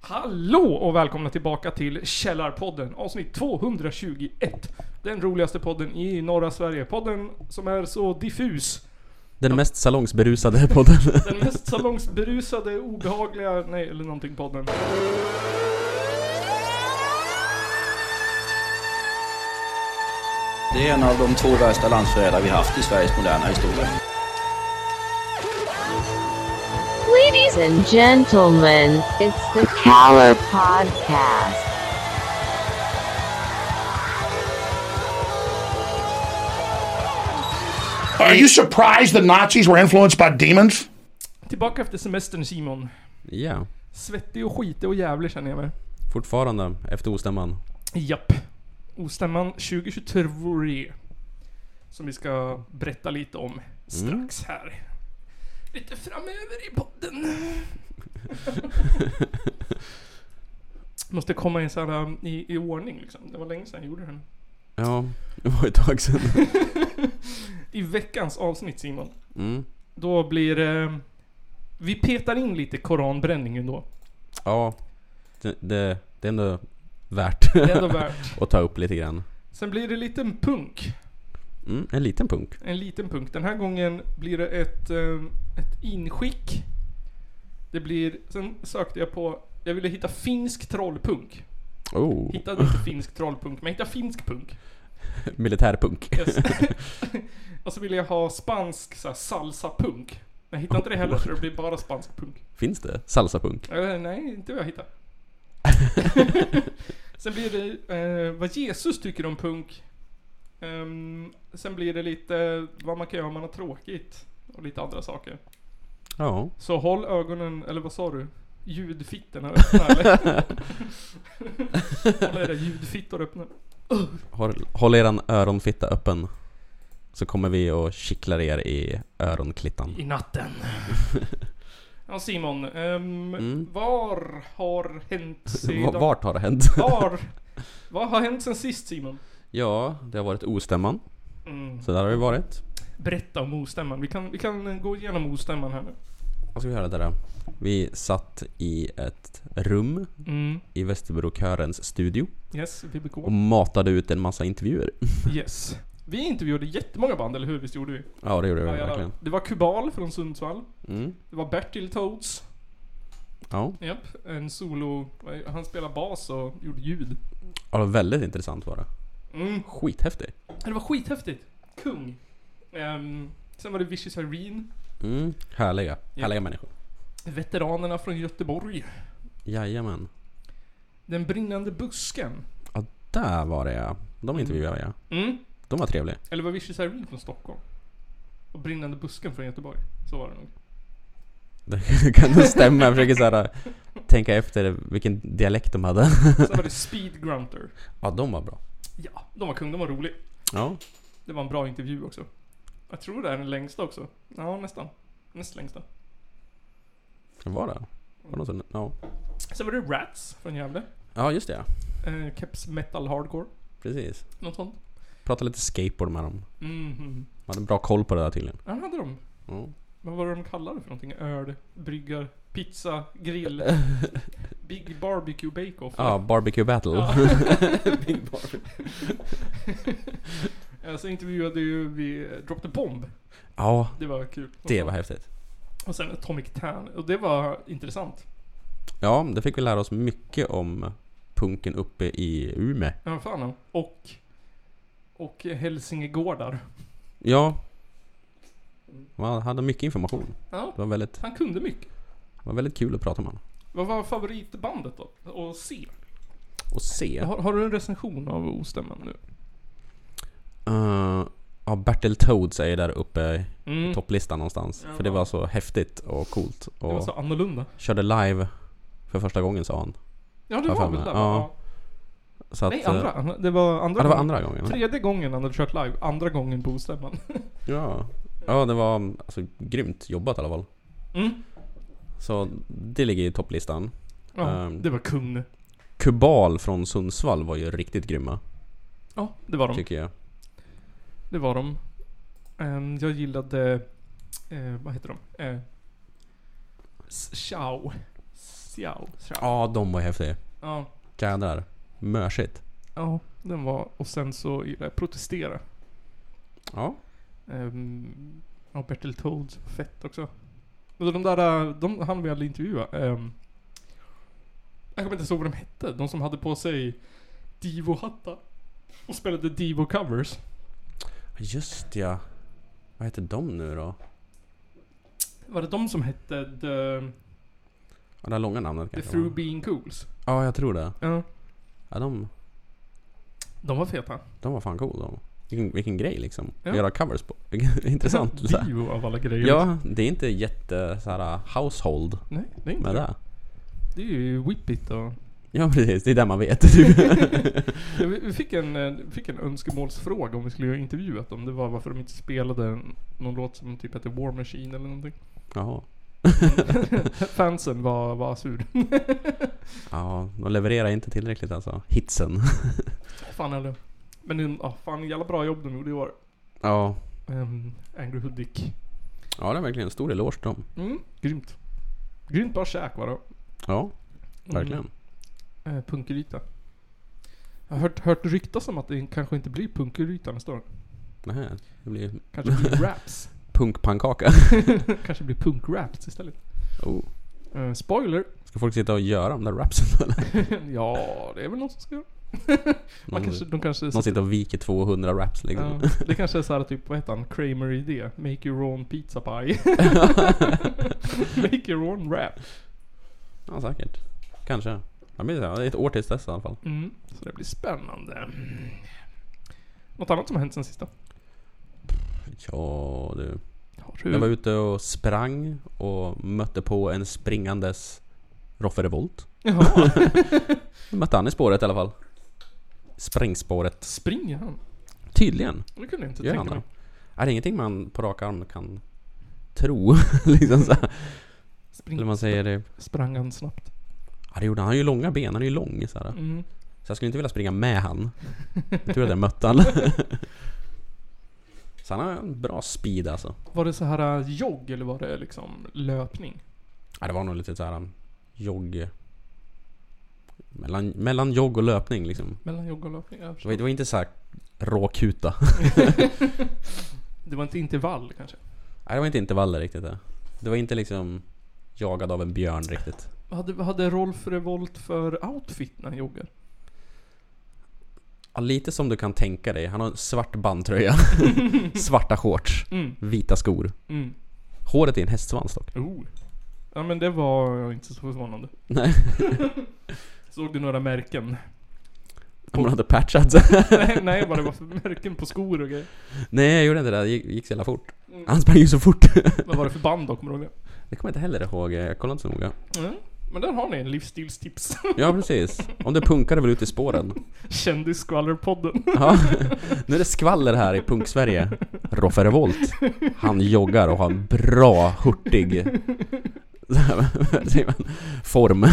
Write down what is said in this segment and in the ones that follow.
Hallå och välkomna tillbaka till Källarpodden, avsnitt 221. Den roligaste podden i norra Sverige. Podden som är så diffus. Den mest salongsberusade podden. Den mest salongsberusade, obehagliga, nej eller någonting podden. Det är en av de två värsta landsförrädare vi haft i Sveriges moderna historia. Ladies and gentlemen, it's the Caller Podcast. Are you surprised the Nazis were influenced by demons? Tillbaka efter semestern Simon. Ja, Svettig och skitig och jävlig känner jag mig. fortfarande efter ostämman. Japp. Ostämman 2023. Som vi ska berätta lite om strax här. Lite framöver i podden. Måste komma i, så här, um, i, i ordning liksom. Det var länge sedan jag gjorde den. Ja, det var ett tag sedan. I veckans avsnitt Simon. Mm. Då blir eh, Vi petar in lite koranbränning ändå. Ja, det, det, det är ändå värt Det är ändå värt. att ta upp lite grann. Sen blir det lite punk. Mm, en liten punk. En liten punkt. Den här gången blir det ett, eh, ett inskick. Det blir... Sen sökte jag på... Jag ville hitta finsk trollpunk. Oh, Hittade inte finsk trollpunk, men jag hittade finsk punk. militärpunk. Yes. och så ville jag ha spansk så här, salsa-punk. Men jag hittade inte det heller, så det blir bara spansk punk. Finns det? Salsapunk? Eh, nej, inte vad jag hittade. sen blir det eh, vad Jesus tycker om punk. Ehm, sen blir det lite vad man kan göra om man har tråkigt. Och lite andra saker. Ja. Så håll ögonen, eller vad sa du? Ljudfittorna öppna eller? håll era ljudfittor öppna. Håll, håll eran öronfitta öppen. Så kommer vi och kittlar er i öronklittan. I natten. Ja Simon, ehm, Mm. var har hänt V- sedan... Vart har det hänt? Var? Vad har hänt sen sist Simon? Ja, det har varit ostämman. Mm. Så där har det varit. Berätta om ostämman. Vi kan, vi kan gå igenom ostämman här nu. Vad ska vi göra där då? Vi satt i ett rum Mm. i Västerbrokörens studio Yes, VBK. och matade ut en massa intervjuer. Yes. Vi intervjuade jättemånga band, eller hur? Visst gjorde vi? Ja, det gjorde vi Ja, jävlar. verkligen. det var Kubal från Sundsvall. Mm. Det var Bertil Toads. Ja. Japp, en solo... Han spelar bas och gjorde ljud. ja, det var väldigt intressant var det. Mm. Skithäftig. Det var skithäftigt. Kung. Ehm, sen var det Vicious Irene. Mm. Härliga. Härliga människor. Veteranerna från Göteborg. Jajamän. Den brinnande busken. Ja, där var det ja. De intervjuade jag. Mm. De var trevliga. Eller var Vicious Irene från Stockholm? Och brinnande busken från Göteborg. Så var det nog. Det kan nog stämma. Jag försöker såhär tänka efter vilken dialekt de hade. Sen var det Speed Grunter. Ja, de var bra. Ja, de var kung, de var rolig. Ja. Det var en bra intervju också. Jag tror det är den längsta också. Ja, nästan. Näst längsta. Det var det. Var det någon sån- ja. Sen var det Rats från Gävle. ja, just det ja. Eh, Keps Metal Hardcore. Precis. Något sånt. Prata lite skateboard med dem. Mhm. De hade bra koll på det där tydligen. Ja, det hade de. Ja. Vad var det de kallade för någonting? Öl, bryggar, pizza, grill. Big Barbecue Bake-Off. Ja, barbecue battle. Ja. Big barbecue. Eh, Så intervjuade ju vi eh, Drop the Bomb. Ja, Det var kul. Och det så- var häftigt. Och sen Atomic Tan. Och det var intressant. Ja, det fick vi lära oss mycket om punken uppe i Umeå. Ja, fan. ja. Och... Och Hälsingegårdar. Ja. Man hade mycket information. Ja, Det var väldigt, han kunde mycket. var väldigt kul att prata med honom. Vad var favoritbandet då? Och se. Och se. Har, har du en recension av Ostämman nu? Eh, ja, Bertil Toads är ju där uppe i Mm. topplistan någonstans. Ja. För det var så häftigt och coolt. Det var så Och annorlunda. körde live för första gången sa han. Ja, det Ja, var fan, väl där? ja. Ja. Så att, Nej, eh, andra. andra- Det var andra Ja, det var gången. andra gången. Tredje gången han hade kört live, andra gången på Ostämman. Ja. ja, det var alltså, grymt jobbat i alla fall. Mm. Så det ligger i topplistan. Ja, Ehm. det var kung. Kubal från Sundsvall var ju riktigt grymma, Mm. Ja, det var de. tycker jag. Det var de. Ehm, jag gillade... eh, vad heter de? Uh, Eh, Xiao. Xiao. Xiao. Ja, de var häftiga. Ja. Jädrar. Mörsigt. Ja, den var... Och sen så gillade jag protestera. Ja. Um, ja, Bertil Toads var fett också. Men de där, eh, de han vi aldrig intervjua. ehm, jag kommer inte ihåg vad de hette. De som hade på sig Divo-hattar. Och spelade Divo-covers. Just ja. Vad heter de nu då? Var det de som hette The, Ja, det här långa namnet the kanske. Through var. Being Cools? Ja, jag tror det. Ja. Ja, de, De var feta. de var fan coola de. Vilken, vilken grej liksom. Ja. Göra covers på. Intressant. så här. Divo av alla grejer. ja, det är inte jätte så här, household Nej, det är inte med det. det. Det är ju Whippit och... Ja, precis. Det är det man vet. Typ. Ja, vi- Vi fick en, eh, fick en önskemålsfråga om vi skulle ha intervjuat dem. Det var varför de inte spelade en- någon låt som typ hette War Machine eller någonting. Jaha. Fansen var, var sur. Ja, de levererar inte tillräckligt alltså. Hitsen. fan eller. Men en- ja, fan jävla bra jobb de gjorde i år. Ja. Um, Angry Hoodic. Ja, det är verkligen en stor eloge till dem. Mm, grymt. Grymt bra käk var det. Ja, Mm, verkligen. eh, punkeryta. Jag har hört, hört ryktas om att det kanske inte blir punkeryta nästa år. Nähä, det blir Kanske blir raps. punkpannkaka. kanske blir punkraps istället. Oh. Eh, spoiler. Ska folk sitta och göra de där rapsen eller? ja, det är väl någon som ska göra. Man Någon, kanske, de kanske Mm. någon sitter och viker 200 raps liksom. Ja, det kanske är såhär typ, vad heter han? Kramer idé. Make your own pizza pie. Make your own wrap. Ja, säkert. Kanske. Ja, men det är ett år tills dess i alla fall. Mm, så det blir spännande. Något annat som har hänt sen sista? Ja du. Har Jag var du? ute och sprang och mötte på en springandes Roffe Revolt. Jaha, Jag mötte han i spåret i alla fall. Springspåret. springer han? Tydligen. Det kunde jag inte Gör han tänka det? mig. Är det ingenting man på rak arm kan tro? liksom så här. Spring, Eller man säger det. Sprang han snabbt? Ja, det gjorde han. Han har ju långa ben. Han är ju lång. Så, här. Mm. så jag skulle inte vilja springa med han. Det är tur att jag mötte han. så han har en bra speed alltså. Var det så här äh, jogg eller var det liksom löpning? Ja, det var nog lite så här um, jogg... Mellan, mellan jogg och löpning liksom. Mellan jogg och löpning? Jag Det var, förstår. det var inte så här råkuta. det var inte intervall kanske? Nej, det var inte intervaller riktigt. Det, det var inte liksom jagad av en björn riktigt. Vad hade, vad hade Rolf Revolt för outfit när han joggar? Ja, lite som du kan tänka dig. Han har en svart bandtröja, svarta shorts, Mm, vita skor. mm. Håret är en hästsvans dock. Oh. Ja men det var inte så förvånande. Nej. Såg du några märken? Om man hade patchat sig. nej, nej, vad det var för märken på skor och grejer. Nej jag gjorde inte det, det gick, gick så jävla fort. Han sprang ju så fort. Mm. Vad var det för band då, kommer du ihåg Det kommer jag inte heller ihåg, jag kollade inte så noga. det? Mm. Men där har ni en livsstilstips. Ja precis. Om du punkar är väl ute i spåren. Kändisskvallerpodden. Ja. Nu är det skvaller här i punk-Sverige. Roffe Revolt. Han joggar och har en bra, hurtig... vad säger man? Form.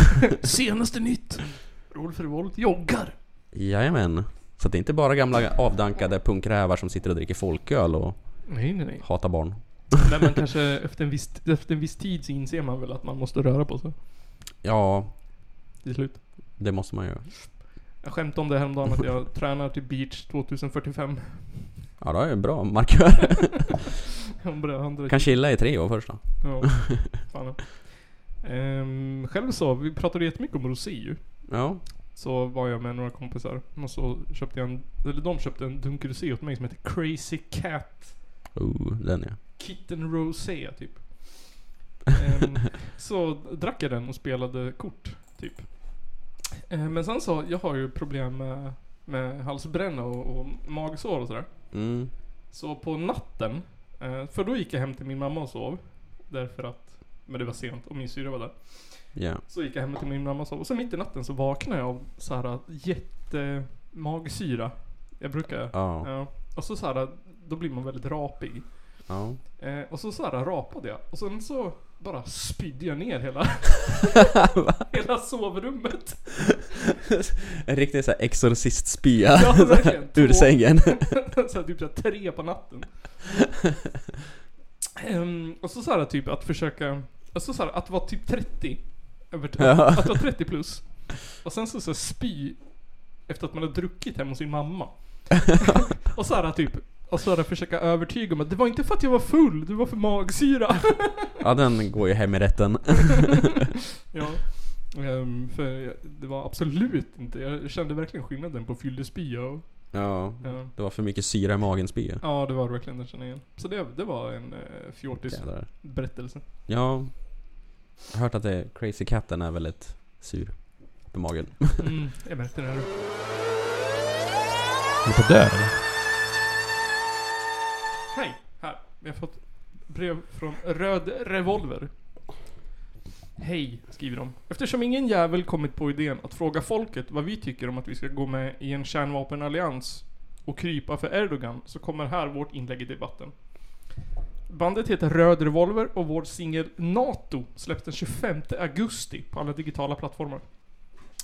Senaste nytt. Rolf Revolt joggar. Jajamän. Så det är inte bara gamla avdankade punkrävar som sitter och dricker folköl och Nej, nej, nej. hatar barn. Men man kanske efter en, viss, efter en viss tid så inser man väl att man måste röra på sig. Ja, Till slut. det måste man ju. Jag skämtade om det häromdagen att jag tränar till beach 2045. Ja, det är ju en bra markör. Jag börjar andra Kan chilla i tre år först då. Ja, fan. Ehm, själv så, vi pratade jättemycket om rosé ju. Ja. Så var jag med några kompisar och så köpte jag en, eller de köpte en dunk rosé åt mig som heter Crazy Cat Oh, den ja. Kitten Rosé typ. Ehm, så drack jag den och spelade kort, typ. Ehm, men sen så, jag har ju problem med, med halsbränna och, och magsår och sådär. Mm. Så på natten, eh, för då gick jag hem till min mamma och sov. Därför att, men det var sent och min syrra var där. Ja. Så gick jag hem till min mamma och sov. Och sen mitt i natten så vaknade jag av så här jättemagsyra. Jag brukar... Ja. Ja. Och så så här, äh, då blir man väldigt rapig. Ja. Eh, och så så här rapade jag. Och sen så bara spydde jag ner hela... hela sovrummet. En riktig såhär exorcistspya. Ja, verkligen. Ur Två- sängen. så här, typ så här, tre på natten. Ehm, och så så här typ att försöka... Alltså så här, att vara typ 30. över t- Ja. att vara 30 plus. Och sen så, så här spy efter att man har druckit hemma hos sin mamma. och så här typ, och så här försöka övertyga om att det var inte för att jag var full, det var för magsyra. Ja den går ju hem i rätten. ja. Ehm, för jag- det var absolut inte, jag kände verkligen skillnaden på fyllespya och... Ja. ja. Det var för mycket syra i magen spy. Ja, det var det verkligen, det känner jag igen. Så det, det var en eh, fjortis Jävlar. berättelse. Ja. Jag har hört att det, crazy katten är väldigt sur. På magen. Mm, jag märkte det här. Håller på att dö eller? Hej! Här. Vi har fått brev från Röd Revolver. Hej, skriver de. Eftersom ingen jävel kommit på idén att fråga folket vad vi tycker om att vi ska gå med i en kärnvapenallians och krypa för Erdogan så kommer här vårt inlägg i debatten. Bandet heter Röd Revolver och vår singel NATO släpps den 25 augusti på alla digitala plattformar.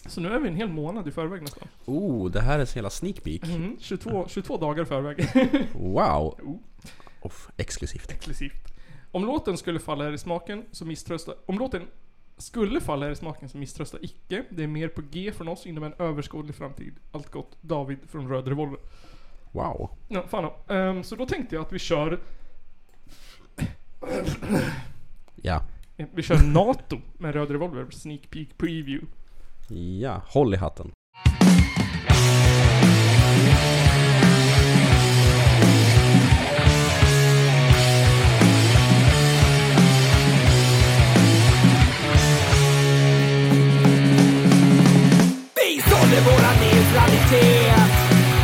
Så nu är vi en hel månad i förväg nästan. Oh, det här är så jävla sneak peek. Mm, 22, 22 dagar i förväg. Wow. Oh. Off, exklusivt. exklusivt. Om låten skulle falla er i smaken så misströsta... Om låten skulle falla er i smaken så misströsta icke. Det är mer på G från oss inom en överskådlig framtid. Allt gott, David från Röd Revolver. Wow. Ja, fan ja. Ehm, Så då tänkte jag att vi kör... Ja. eh, Vi kör NATO med Röd Revolver, Sneak Peek Preview. Ja, håll i hatten. Vi sålde våran neutralitet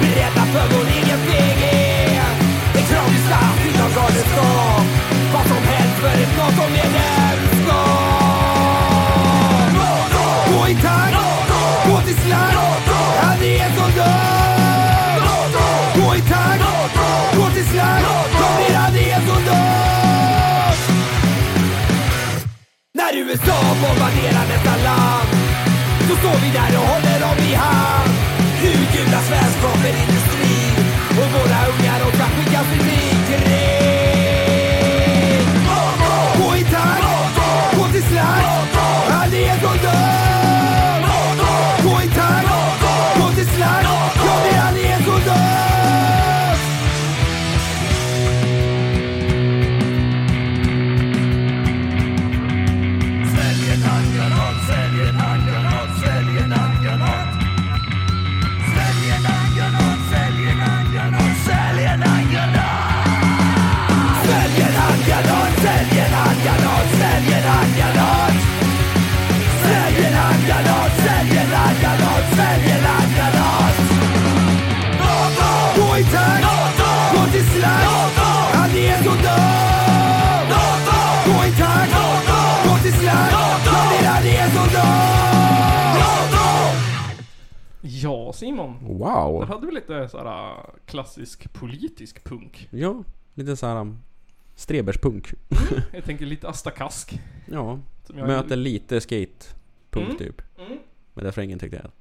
Beredda för vår egen feghet Det tragiska utan galenskap Vad som helst för ett NATO-medlemskap Gå i takt, gå till slakt Han är en som dör Gå i takt, gå till slakt Kom ner, han är en som dör När USA bombarderar detta land då står vi där och håller dem i hand Utgjuta svensk vapenindustri Och våra ungar de kan skickas i krig Gå i takt, gå till slakt Han är en som dör Gå i takt, gå till slakt Ja, det han är en som dör Svälj en handgranat, svälj en handgranat, svälj en handgranat. Svälj en handgranat, svälj en handgranat, svälj en handgranat. Svälj en handgranat, svälj en handgranat, svälj en handgranat. Svälj en handgranat, svälj en handgranat, svälj en handgranat. Gå i takt, gå till slakt, han är så död. Gå i takt, gå till slakt, han är så död. Ja, Simon. Oh. Där Wow. hade vi lite såhär äh, klassisk politisk punk. Ja, lite såhär um, streberspunk. Jag tänker lite Astakask. Ja, Som jag- möter lite skatepunk Mm. typ. Mm. Men refrängen tyckte jag.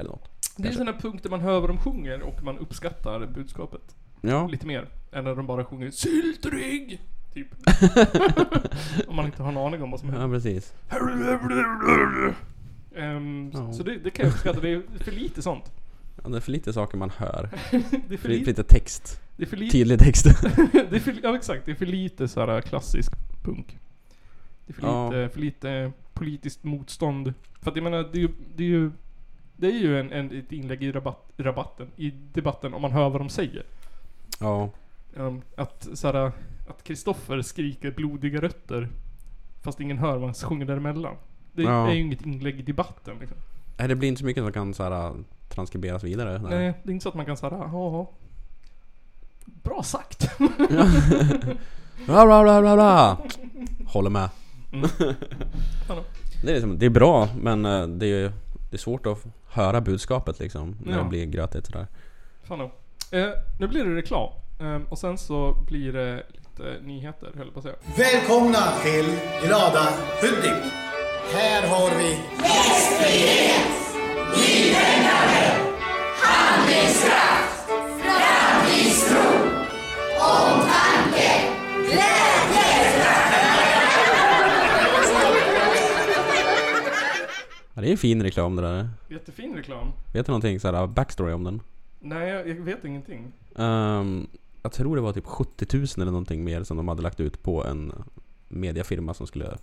Eller något. Det är sån här punkt där man hör vad de sjunger och man uppskattar budskapet. Ja. lite mer än när de bara sjunger Syltrygg! Typ. Om man inte har en aning om vad som händer. Ja, precis. Ehm, Ja. Så det, det kan jag uppskatta, det är för lite sånt. Ja, det är för lite saker man hör. Det är för lite, För lite, för lite text. det är för lite, Tydlig text. det är för, ja exakt, det är för lite så här äh, klassisk punk. Det är för Ja. lite, för lite politiskt motstånd. För att jag menar, det är ju, det är ju, det är ju en, en, ett inlägg i rabatt, rabatten, i debatten om man hör vad de säger. ja. Ehm, att såhär, att Kristoffer skriker blodiga rötter fast ingen hör vad han sjunger däremellan. Det Ja. är ju inget inlägg i debatten liksom. Nej, det blir inte så mycket som kan såhär transkriberas vidare. Nej. Eh, det är inte så att man kan såhär, ja. Bra sagt. Bla, bla, bla, bla, bla. Håller med. Fan då. Det är, liksom, det är bra, men eh, det är, det är svårt att höra budskapet liksom. När Ja. det blir grötigt sådär. Fan då. Eh, nu blir det reklam. Ehm, och sen så blir det lite nyheter, höll jag på att säga. Välkomna till Glada Hudik! Här har vi det är en fin reklam det där. Jättefin reklam. Vet du någonting så här backstory om den? Nej, jag, jag vet ingenting. Ehm, jag tror det var typ 70 000 eller någonting mer som de hade lagt ut på en mediafirma som skulle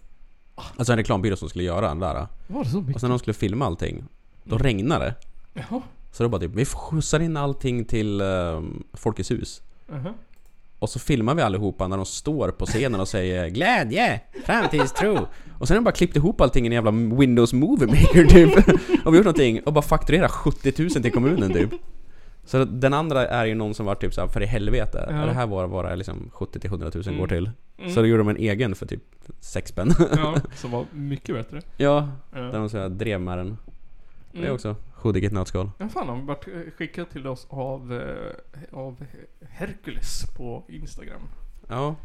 Alltså en reklambyrå som skulle göra den där. Var det så Och mycket? Mm. sen när de skulle filma allting, då regnade det. Jaha. Så då bara typ, vi skjutsar in allting till ehm, Folkets hus. Aha. Och så filmar vi allihopa när de står på scenen och säger 'Glädje! Framtidstro!' Och sen har de bara klippt ihop allting i en jävla Windows Movie Maker typ. Och vi gjort någonting och bara fakturerat 70 000 till kommunen typ. Så den andra är ju någon som var typ såhär, för i helvete. Ja. Är det här våra, våra liksom 70 till 100 000 går Mm. till? Mm. Så då gjorde de en egen för typ sex spänn. Ja, som var mycket bättre. ja, Ja. där de så här drev med den. Det är Mm. också hoodie ett nötskal. Den fan har vi varit eh, skickad till oss av, eh, av Hercules på Instagram. Ja.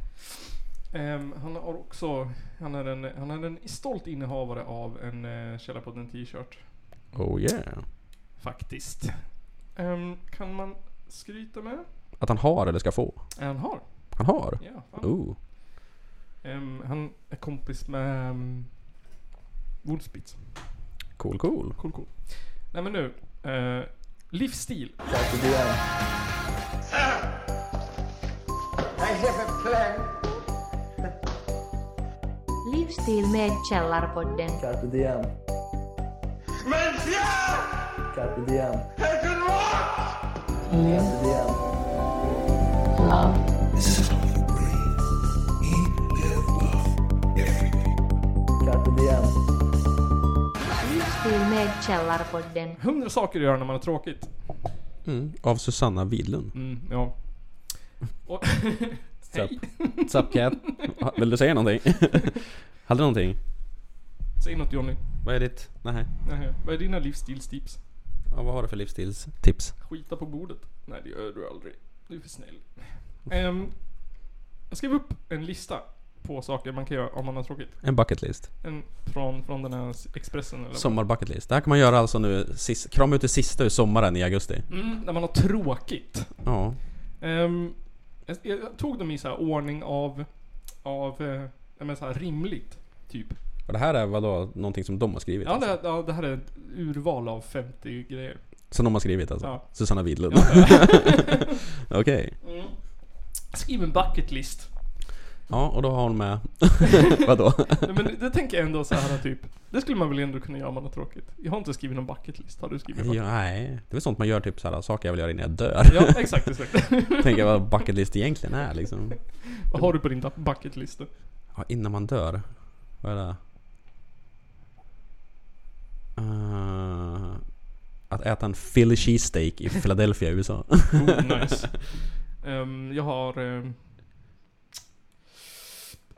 Ehm, han har också, han är, en, han är en stolt innehavare av en uh, Källarpodden t-shirt. Oh yeah. Faktiskt. Ehm, kan man skryta med? Att han har eller ska få. Eh, Han har. Han har. Ja, fan. Oh. Ehm, han är kompis med um, Woodspitz. Cool cool. Cool, cool. Nej men nu. eh, livsstil. Livsstil med Källarpodden. Livsstil med Källarpodden. Hundra saker att göra när man har tråkigt. Mm. Av Susanna Widlund. Mm, ja. Och Hej. What's up cat? Ah, Vill du säga någonting? Hade du någonting? Säg något Johnny. Vad är ditt? Nej. Nej, vad är dina livsstilstips? Ja, vad har du för livsstilstips? Skita på bordet? Nej det gör du aldrig. Du är för snäll. Ehm, jag skrev upp en lista på saker man kan göra om man har tråkigt. En bucket list. En från, från den här Expressen eller vad? Sommarbucket list. Det här kan man göra alltså nu, sis, kram ut det sista ur sommaren i augusti. Mm, när man har tråkigt. Ja. Ehm, jag, jag tog dem i så här ordning av, av eh, ja, men så här rimligt. Typ. Och det här är vadå? Någonting som de har skrivit? Ja alltså. det, ja, det här är ett urval av 50 grejer. Som de har skrivit alltså? Ja. Susanna Widlund? Okej. Skriv en bucket list. Ja, och då har hon med... vadå? Nej, men det tänker jag ändå så här typ. Det skulle man väl ändå kunna göra om man har tråkigt. Jag har inte skrivit någon bucket list. Har du skrivit en bucket ja, nej. Det är väl sånt man gör typ såhär, saker jag vill göra innan jag dör. Ja, exakt, exakt. Tänker jag vad bucket list egentligen är liksom. Vad har du på din da- bucket list då? Ja, innan man dör. Vad är det? Eh, att äta en Philly cheesesteak i Philadelphia, USA. Oh, nice. Ehm, jag har... ehm,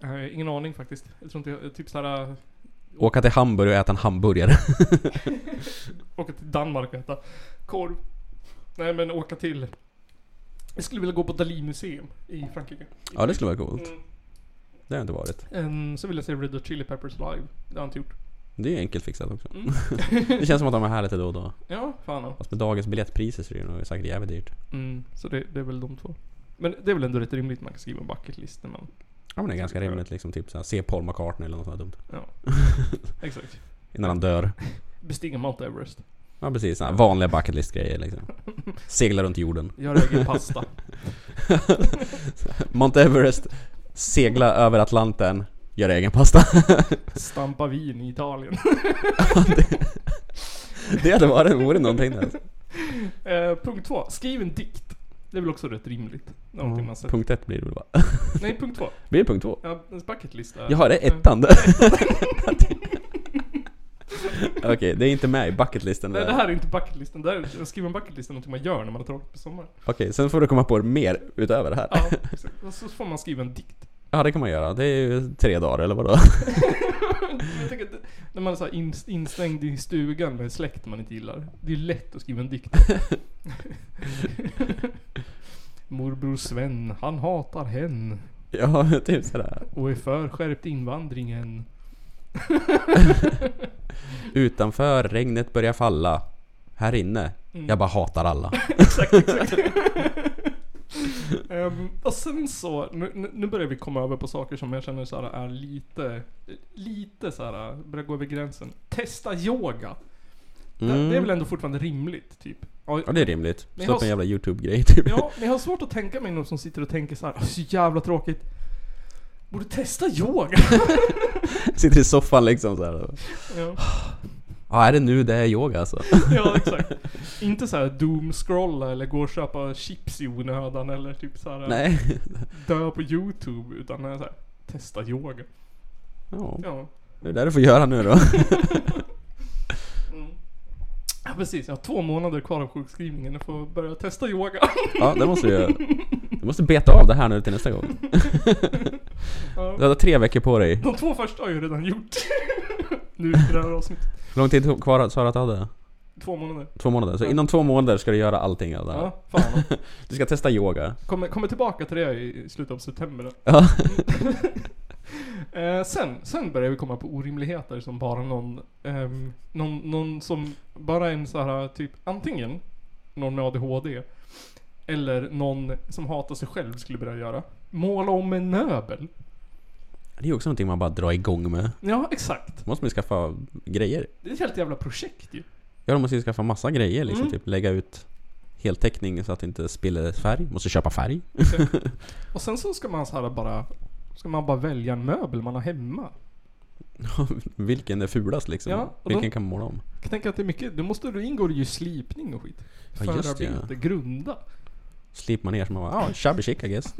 eh, ingen aning faktiskt. Jag tror inte jag... Typ såhär... Åka till Hamburg och äta en hamburgare. Åka till Danmark och äta korv. Nej men åka till... Jag skulle vilja gå på Dalí museum i Frankrike. ja, det skulle vara coolt. Mm. Det har inte varit. Ehm, så vill jag se Red Hot Chili Peppers live. Det har jag inte gjort. Det är enkelt fixat också. Mm. Det känns som att de är här lite då och då. Ja, fan ja. Fast med dagens biljettpriser så är det nog säkert jävligt dyrt. Mm, så det, det är väl de två. Men det är väl ändå rätt rimligt man kan skriva en bucket list när man... Ja men det är ganska rimligt liksom. Typ såhär, se Paul McCartney eller något sånt där dumt. Ja. Exakt. Innan han dör. Bestiga Mount Everest. Ja precis, såna här vanliga bucket list grejer liksom. Segla runt jorden. Göra egen pasta. Mount Everest, segla över Atlanten, göra egen pasta. Stampa vin i Italien. Det hade varit, vore någonting det. Alltså. Eh, punkt två. Skriv en dikt. Det är väl också rätt rimligt. Någonting man sett. Mm, Punkt ett blir det väl bara. Nej, punkt två. Blir det punkt två? Ja, en Eh. bucket list är... Jaha, det är ettan? Okej, det är inte med i bucketlisten. Nej, där. det här är inte bucketlisten. Det här är, att skriva en bucketlist är någonting man gör när man har tråkigt på sommaren. Okej, sen får du komma på mer utöver det här. Ja, exakt. Och så får man skriva en dikt. Ja, det kan man göra. Det är ju tre dagar eller vadå? Jag tänker att det- när man är så här in, instängd i stugan med släkt man inte gillar. Det är lätt att skriva en dikt. Morbror Sven, han hatar hen. Ja, typ sådär. Och är för skärpt invandringen. Utanför, regnet börjar Mm. falla. Här inne, jag bara hatar alla. Exakt, exakt. Ehm, och sen så, nu, nu- nu börjar vi komma över på saker som jag känner så här är lite, lite så här börjar gå över gränsen. Testa yoga. Det, det är väl ändå fortfarande rimligt, typ. Ja, Mm. Ja det är rimligt. Men Släpp jag- en jävla YouTube-grej typ. Ja, men jag har svårt att tänka mig någon som sitter och tänker så här, "Åh, så jävla tråkigt. Borde testa yoga. Sitter i soffan liksom så här. ja. Ja är det nu det är yoga alltså? ja, exakt. Inte så här doom-scrolla eller gå och köpa chips i onödan eller typ så här Nej. dö på youtube. Utan så här, testa yoga. Ja. Ja. Det är det du får göra nu då. ja, precis. Jag har två månader kvar av sjukskrivningen. Jag får börja testa yoga. Ja det måste du göra. Du måste beta av det här nu till nästa gång. Du hade tre veckor på dig. De två första har jag ju redan gjort. nu i det här avsnittet. Hur lång tid tog- kvar sa du att du hade? Två månader. Två månader. Så inom två månader ska du göra allting av det här. Ja, fan. Du ska testa yoga. Kommer, kommer tillbaka till det i slutet av september. då. Ja. Eh, sen, sen börjar vi komma på orimligheter som bara någon, ehm, någon, någon som, bara en så här typ, antingen någon med ADHD eller någon som hatar sig själv skulle börja göra. Måla om en möbel. Det är ju också någonting man bara drar igång med. Ja, exakt. Då måste man ju skaffa grejer. Det är ett helt jävla projekt ju. Ja, de måste ju skaffa massa grejer liksom. Mm. Typ lägga ut heltäckning så att det inte spiller färg. Måste köpa färg. Och sen så ska man så här bara, ska man bara välja en möbel man har hemma. Vilken är fulast liksom? Ja, och Vilken de- kan man måla om? Jag tänker att det är mycket, då måste du ingå ju slipning och skit. Ja, just det, ja. Förarbete, grunda. Slipar man ner så man bara ja, ah, shabby chic I guess.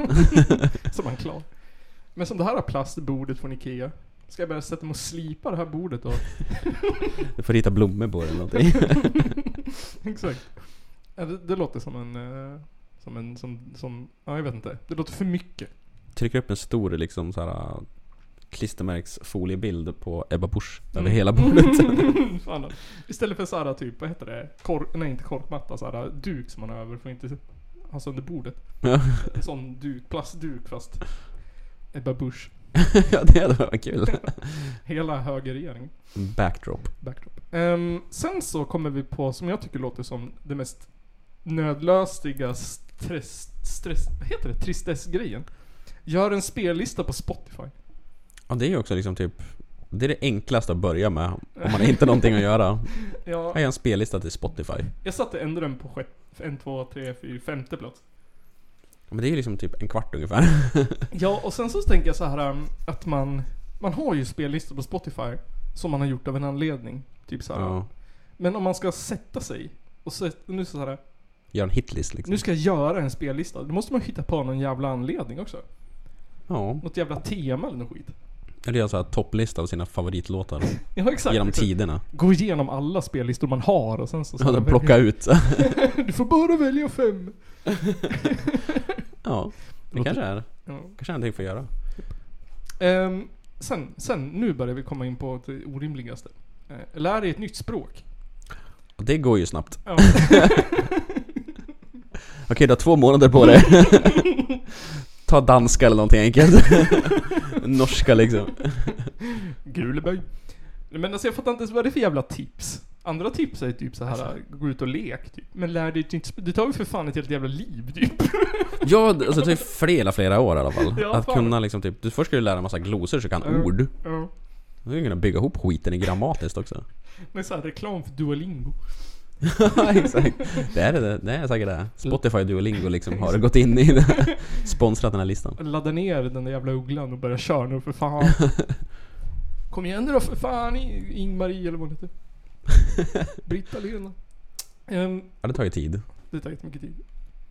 Så man klar. Men som det här plastbordet från Ikea. Ska jag börja sätta mig och slipa det här bordet då? Du får rita blommor på det eller någonting. Exakt. Ja, det, det låter som en... eh, Som en... Som, som... Ja, jag vet inte. Det låter för mycket. Trycker upp en stor liksom så här klistermärksfoliebild på Ebba Busch över Mm. hela bordet. Fan då. Istället för såhär typ, vad heter det? Kork... Nej, inte korkmatta. Såhär duk som man har över för att inte ha sönder bordet. Ja. En sån duk, plastduk fast Ebba Busch. ja, det hade varit kul. Hela högerregeringen. Backdrop. backdrop. Ehm, sen så kommer vi på, som jag tycker låter som det mest nödlöstiga stress, stress vad heter det? Tristessgrejen. Gör en spellista på Spotify. Ja, det är ju också liksom typ det är det enklaste att börja med om man inte har någonting att göra. Ja, Jag gör en spellista till Spotify. jag satte ändå den på sjätte, en, två, tre, fyra, femte plats. Men det är ju liksom typ en kvart ungefär. Ja, och sen så tänker jag så här um, att man, man har ju spellistor på Spotify som man har gjort av en anledning. Typ så här. Ja. Men om man ska sätta sig och sätt, nu så här, Gör en hitlist liksom. nu ska jag göra en spellista. Då måste man hitta på någon jävla anledning också. Ja. Något jävla tema eller något skit. Eller göra så här topplista av sina favoritlåtar Ja exakt. genom Exakt. tiderna. Gå igenom alla spellistor man har och sen så... Ja, de plocka ut. Du får bara välja fem. Ja, det Låter- kanske är. Ja. Kanske är någonting för att göra. Ehm, sen, sen, nu börjar vi komma in på det orimligaste. Eh, Lär dig ett nytt språk. Och det går ju snabbt. Ja. Okej, du har två månader på dig. Ta danska eller någonting enkelt. Norska liksom. Guleböj. Men alltså jag fattar inte ens vad det är för jävla tips. Andra tips är typ så här gå ut och lek typ. Men lär dig ett nytt språk. Det tar ju för fan ett helt jävla liv typ. Ja, alltså det tar ju flera, flera år i alla fall. Ja, att fan. kunna liksom typ, du, först ska du lära en massa glosor så du kan Ja. ord. Ja. Då ska du kunna bygga ihop skiten i grammatiskt också. Men såhär reklam för Duolingo. Ja, exakt. Det är det, det är säkert det. Spotify Duolingo liksom har gått in i det. Sponsrat den här listan. Ladda ner den där jävla ugglan och börja köra nu för fan. Kom igen nu då för fan I- Ing-Marie eller vad hon heter. Britta-Lena. Ehm, Ja, det tar ju tid. det tar inte mycket tid.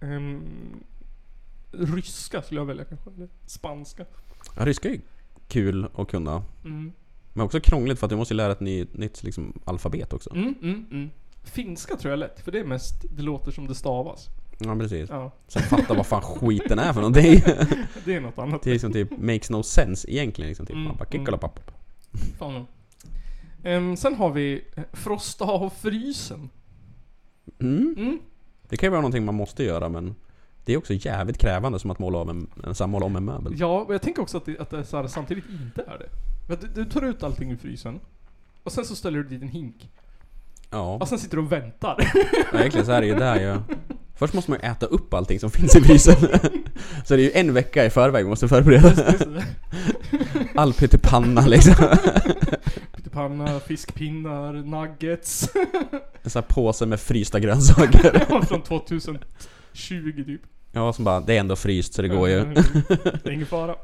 Ehm, ryska skulle jag välja kanske. Eller spanska. Ja, ryska är ju kul att kunna. Mm. Men också krångligt för att du måste ju lära ett ny, nytt liksom, alfabet också. Mm, mm, mm. Finska tror jag är lätt, för det är mest, det låter som det stavas. Ja precis. Ja, Sen fatta vad fan skiten är för någonting. det är något annat. Det är liksom typ makes no sense egentligen. Liksom, typ. Mm, Man bara mm. kickalapapp. Fan. Ehm, sen har vi eh, frosta av frysen. Mm. Mm. Det kan ju vara någonting man måste göra men det är också jävligt krävande som att måla, av en, en, så här, måla om en möbel. Ja, och jag tänker också att det, att det är så här, samtidigt inte är det. För att du, du tar ut allting ur frysen. Och sen så ställer du dit en hink. Ja, Och sen sitter du och väntar. ja egentligen så är det ju där ju. Först måste man ju äta upp allting som finns i frysen. så det är ju en vecka i förväg man måste förbereda. All pyttipanna liksom. Pyttipanna, fiskpinnar, nuggets. En sån här påse med frysta grönsaker. Från 2020 typ. Ja, som bara, det är ändå fryst så det går ju. Mm. Det är ingen fara.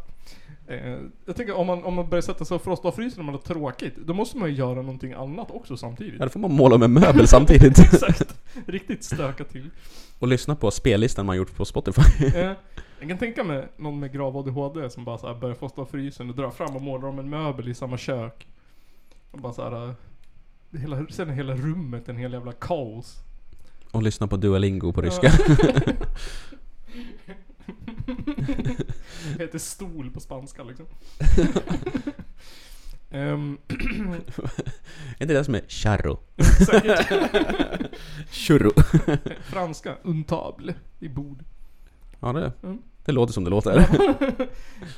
Eh, jag tänker om man, om man börjar sätta sig och frosta och frysa när man har tråkigt, då måste man ju göra någonting annat också samtidigt. Ja, då får man måla med möbel samtidigt. Exakt. Riktigt stöka till. Och lyssna på spellistan man gjort på Spotify. Eh, jag kan tänka mig någon med grav ADHD som bara så här börjar frosta och frysen och drar fram och målar om en möbel i samma kök. Och bara så här, eh, hela, sen är hela rummet en hel jävla kaos. Och lyssna på Duolingo på ryska. Det heter stol på spanska liksom. Ehm, Är inte det det som är charro? säkert. Churro. Franska, untable, i bord. Ja, det, Mm. det låter som det låter.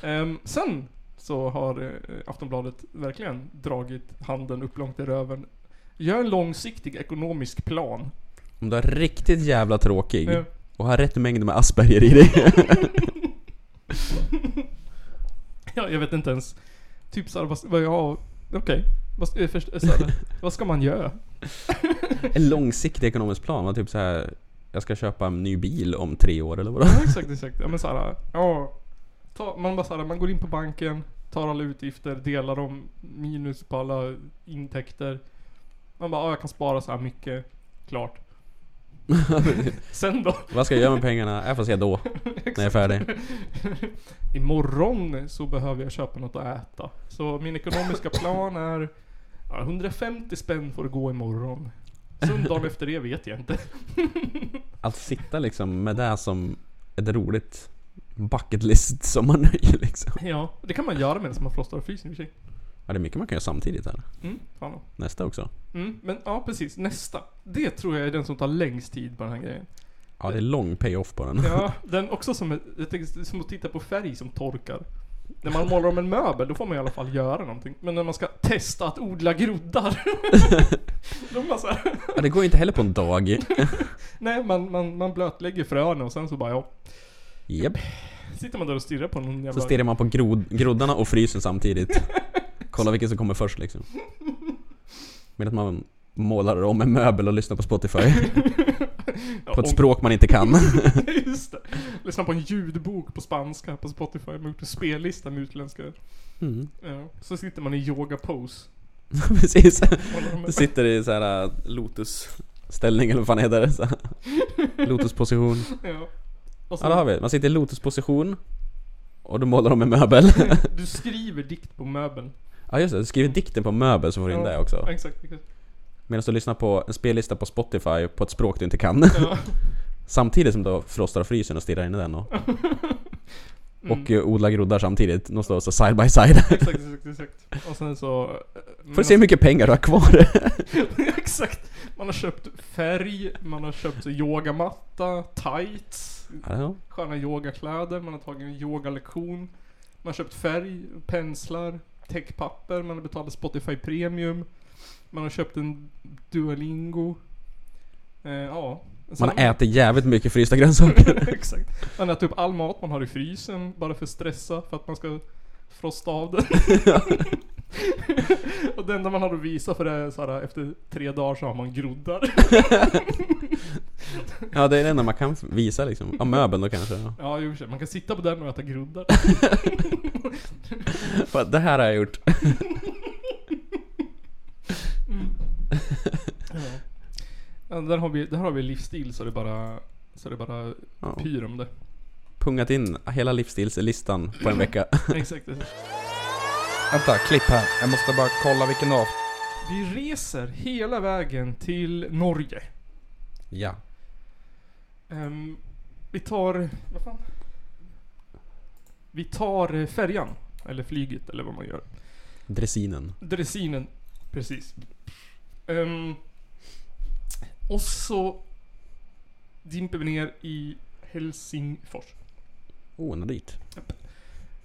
Ehm, sen så har eh, Aftonbladet verkligen dragit handen upp långt i röven. Gör en långsiktig ekonomisk plan. Eh, Om du är riktigt jävla tråkig Ja. och har rätt mängd med asperger i dig. Ja, jag vet inte ens. Typ såhär, vad, vad jag... Okej. Vad, eh, först, eh, så här, vad ska man göra? En långsiktig ekonomisk plan var typ så här. Jag ska köpa en ny bil om tre år eller vadå? Ja, exakt, exakt. Ja men såhär, ja. Ta, man bara såhär, man går in på banken, tar alla utgifter, delar dem minus på alla intäkter. Man bara, ja jag kan spara så här mycket. Klart. Sen då? Vad ska jag göra med pengarna? Jag får se då. När jag är färdig. Imorgon så behöver jag köpa något att äta. Så min ekonomiska plan är ja, 150 spänn får det gå imorgon. Sen dagen efter det vet jag inte. Att sitta liksom med det som ett roligt bucket list som man nöjer liksom. Ja, det kan man göra medan man frostar och fryser i och för sig. Ja, det är mycket man kan göra samtidigt här. Mm, fan då. Nästa också. Mm, men ja precis, nästa. Det tror jag är den som tar längst tid på den här grejen. Ja, det är lång payoff på den. Ja, den också som, är- jag tänker, det är som att titta på färg som torkar. När man målar om en möbel, då får man i alla fall göra någonting. Men när man ska testa att odla groddar. då är man så här, Ja, det går ju inte heller på en dag. nej man, man, man blötlägger fröna och sen så bara ja. Japp. Sitter man där och stirrar på någon Så jävla... stirrar man på grod, groddarna och frysen samtidigt. Kolla vilken som kommer först liksom. Medan man målar om en möbel och lyssnar på Spotify. ja, På ett om- språk man inte kan. Just det. Lyssnar på en ljudbok på spanska på Spotify. Man har gjort en spellista med utländska. Mm. Ja. Så sitter man i yoga pose. Precis. Målar om en- Du sitter i så här äh, lotusställning eller vad fan heter det? Så här. Lotusposition. Ja. Och Ja, där har vi. Man sitter i lotusposition. Och du målar om en möbel. Du skriver dikt på möbeln. Ja just det, du skriver dikten på möbel så får du in det också. Ja, exakt. exakt. Medan du lyssnar på en spellista på Spotify på ett språk du inte kan. Samtidigt som du frostar och fryser och stirrar in i den och, och eh, odlar groddar samtidigt. De står så side by side. Mm. Exakt, exakt, exakt. Och sen så... eh, Får du se hur mycket pengar du har kvar. exakt. Man har köpt färg, man har köpt så yogamatta, tights, Ja, sköna yogakläder, man har tagit en yogalektion. Man har köpt färg, penslar, täckpapper, man har betalat Spotify Premium. Man har köpt en Duolingo. Eh, ja. Man Sen- äter jävligt mycket frysta grönsaker. Exakt. Man äter upp all mat man har i frysen bara för att stressa för att man ska frosta av den. och det enda man har att visa för det är så här, efter tre dagar så har man groddar. Ja det är det enda man kan visa liksom. Ja möbeln då kanske. ja. Ja, i och för sig. Man kan sitta på den och äta groddar. För att Det här har jag gjort. Ja, där, har vi, där har vi livsstil så det bara, så det bara Ja. pyr om det. Pungat in hela livsstilslistan på en vecka. Exakt. Vänta, klipp här. Jag måste bara kolla vilken av. Vi reser hela vägen till Norge. Ja. Ehm, vi tar... Vad fan? Vi tar eh, färjan. Eller flyget eller vad man gör. Dressinen. Dressinen. Precis. Ehm, och så dimper vi ner i Helsingfors. Oh, den är dit.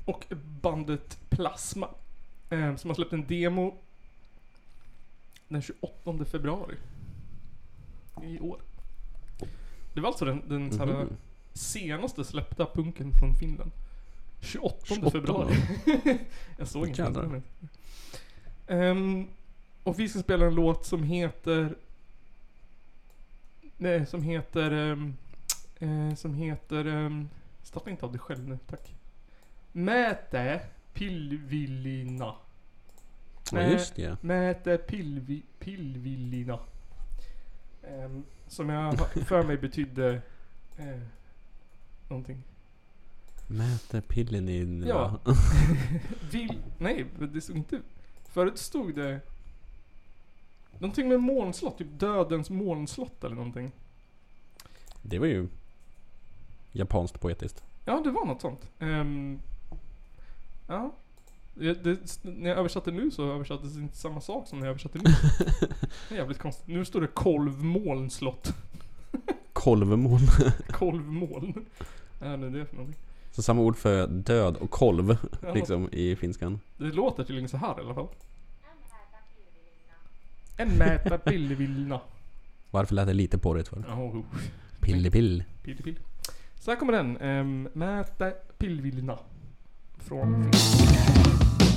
Och bandet Plasma. ehm, som har släppt en demo den 28 februari. I år. Det var alltså den, den så här, Mhm. senaste släppta punken från Finland. 28, 28. februari. jag såg inte Jävlar. den. Ehm, och vi ska spela en låt som heter... Nej, som heter... ehm, eh, som heter... Um, starta inte av dig själv nu, tack. Mäte Pillvillina. Ja, just det. Mäte pillvi, Pillvillina. Ehm, som jag har för mig betydde... Eh, någonting. Mäter pillen in... Ja. Vill... Nej, men det stod inte... Förut stod det... Någonting med molnslott, typ dödens molnslott eller någonting. Det var ju japanskt poetiskt. Ja, det var något sånt. Ehm, ja. Det, det, när jag översatte nu så översattes inte samma sak som när jag översatte nu. Det är jävligt konstigt. Nu står det kolvmolnslott. Kolvmoln. Kolvmoln. Vad är nu det för någonting? Så samma ord för död och kolv Ja. liksom i finskan. Det låter tydligen så här i alla fall. En mäta pillevillna. Varför lät det lite porrigt för? Oh, Pillepill. pill. Så här kommer den. Um, mäta pillvillna. Från Finland.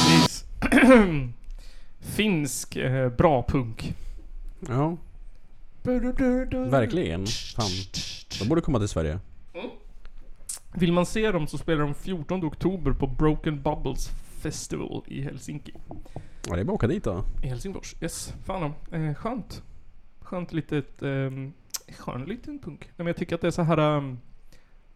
Precis. Finsk eh, bra punk. Ja, verkligen. Fan. De borde komma till Sverige. Vill man se dem så spelar de 14 oktober på Broken Bubbles Festival i Helsinki. Ja, det är bara att åka dit då. I Helsingfors. Yes. Fan då. eh, Skönt. Skönt litet... Eh, skön liten punk. Nej, men jag tycker att det är så här... ehm,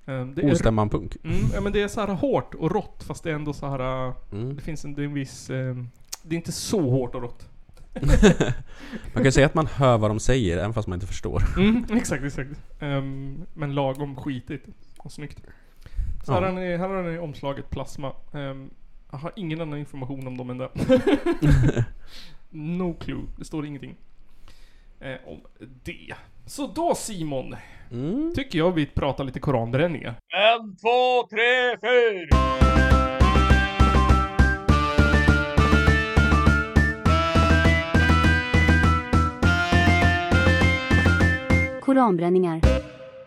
ehm, det är, Ostämman punk. mm, ja, men det är så här hårt och rått fast det är ändå så här... eh, Mm. Det finns en, det är en viss... ehm, det är inte så hårt och rått. Man kan ju säga att man hör vad de säger även fast man inte förstår. Mm, exakt, exakt. Ehm, men lagom skitigt och snyggt. Så här Ja. har ni, här har ni omslaget Plasma. Ehm, jag har ingen annan information om dem än det. no clue. Det står ingenting eh, om det. Så då Simon, Mm. tycker jag vi pratar lite koranbränningar. En, två, tre, fyra! Koranbränningar.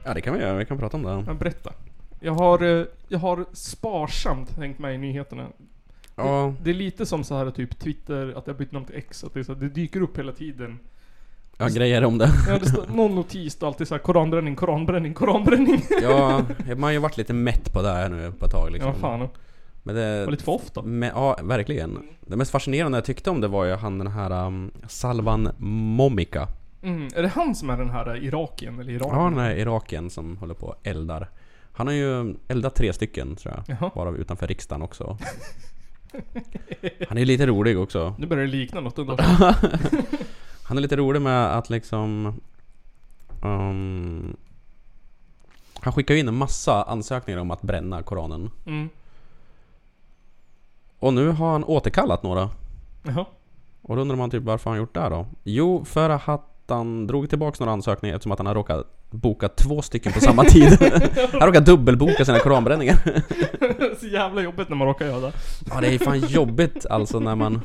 Ja, det kan vi göra. Vi kan prata om det. Men berätta. Jag har, eh, jag har sparsamt hängt med i nyheterna. Ja, Det är lite som så här typ Twitter, att jag bytt namn till X. Att det, är så här, det dyker upp hela tiden. jag grejer om det. Ja, det står någon notis då alltid såhär koranbränning, koranbränning, koranbränning. Ja, man har ju varit lite mätt på det här nu på ett tag liksom. Ja, Mm. fan. Men det, Och lite för ofta. Men, ja, verkligen. Det mest fascinerande jag tyckte om det var ju han den här um, Salvan Momika. Mm. Är det han som är den här eh, Irakien eller Iran? Ja, den här Iraken som håller på och eldar. Han har ju eldat tre stycken tror jag. Jaha. Varav utanför riksdagen också. Han är ju lite rolig också. Nu börjar det likna något ändå. Han är lite rolig med att liksom... ehm, han skickar ju in en massa ansökningar om att bränna Koranen. Mm. Och nu har han återkallat några. Jaha. Och då undrar man typ varför han gjort det då? Jo, för att han drog tillbaka några ansökningar eftersom att han har råkat boka två stycken på samma tid. han råkar dubbelboka sina koranbränningar. Så jävla jobbigt när man råkar göra det. Ja, det är fan jobbigt alltså när man...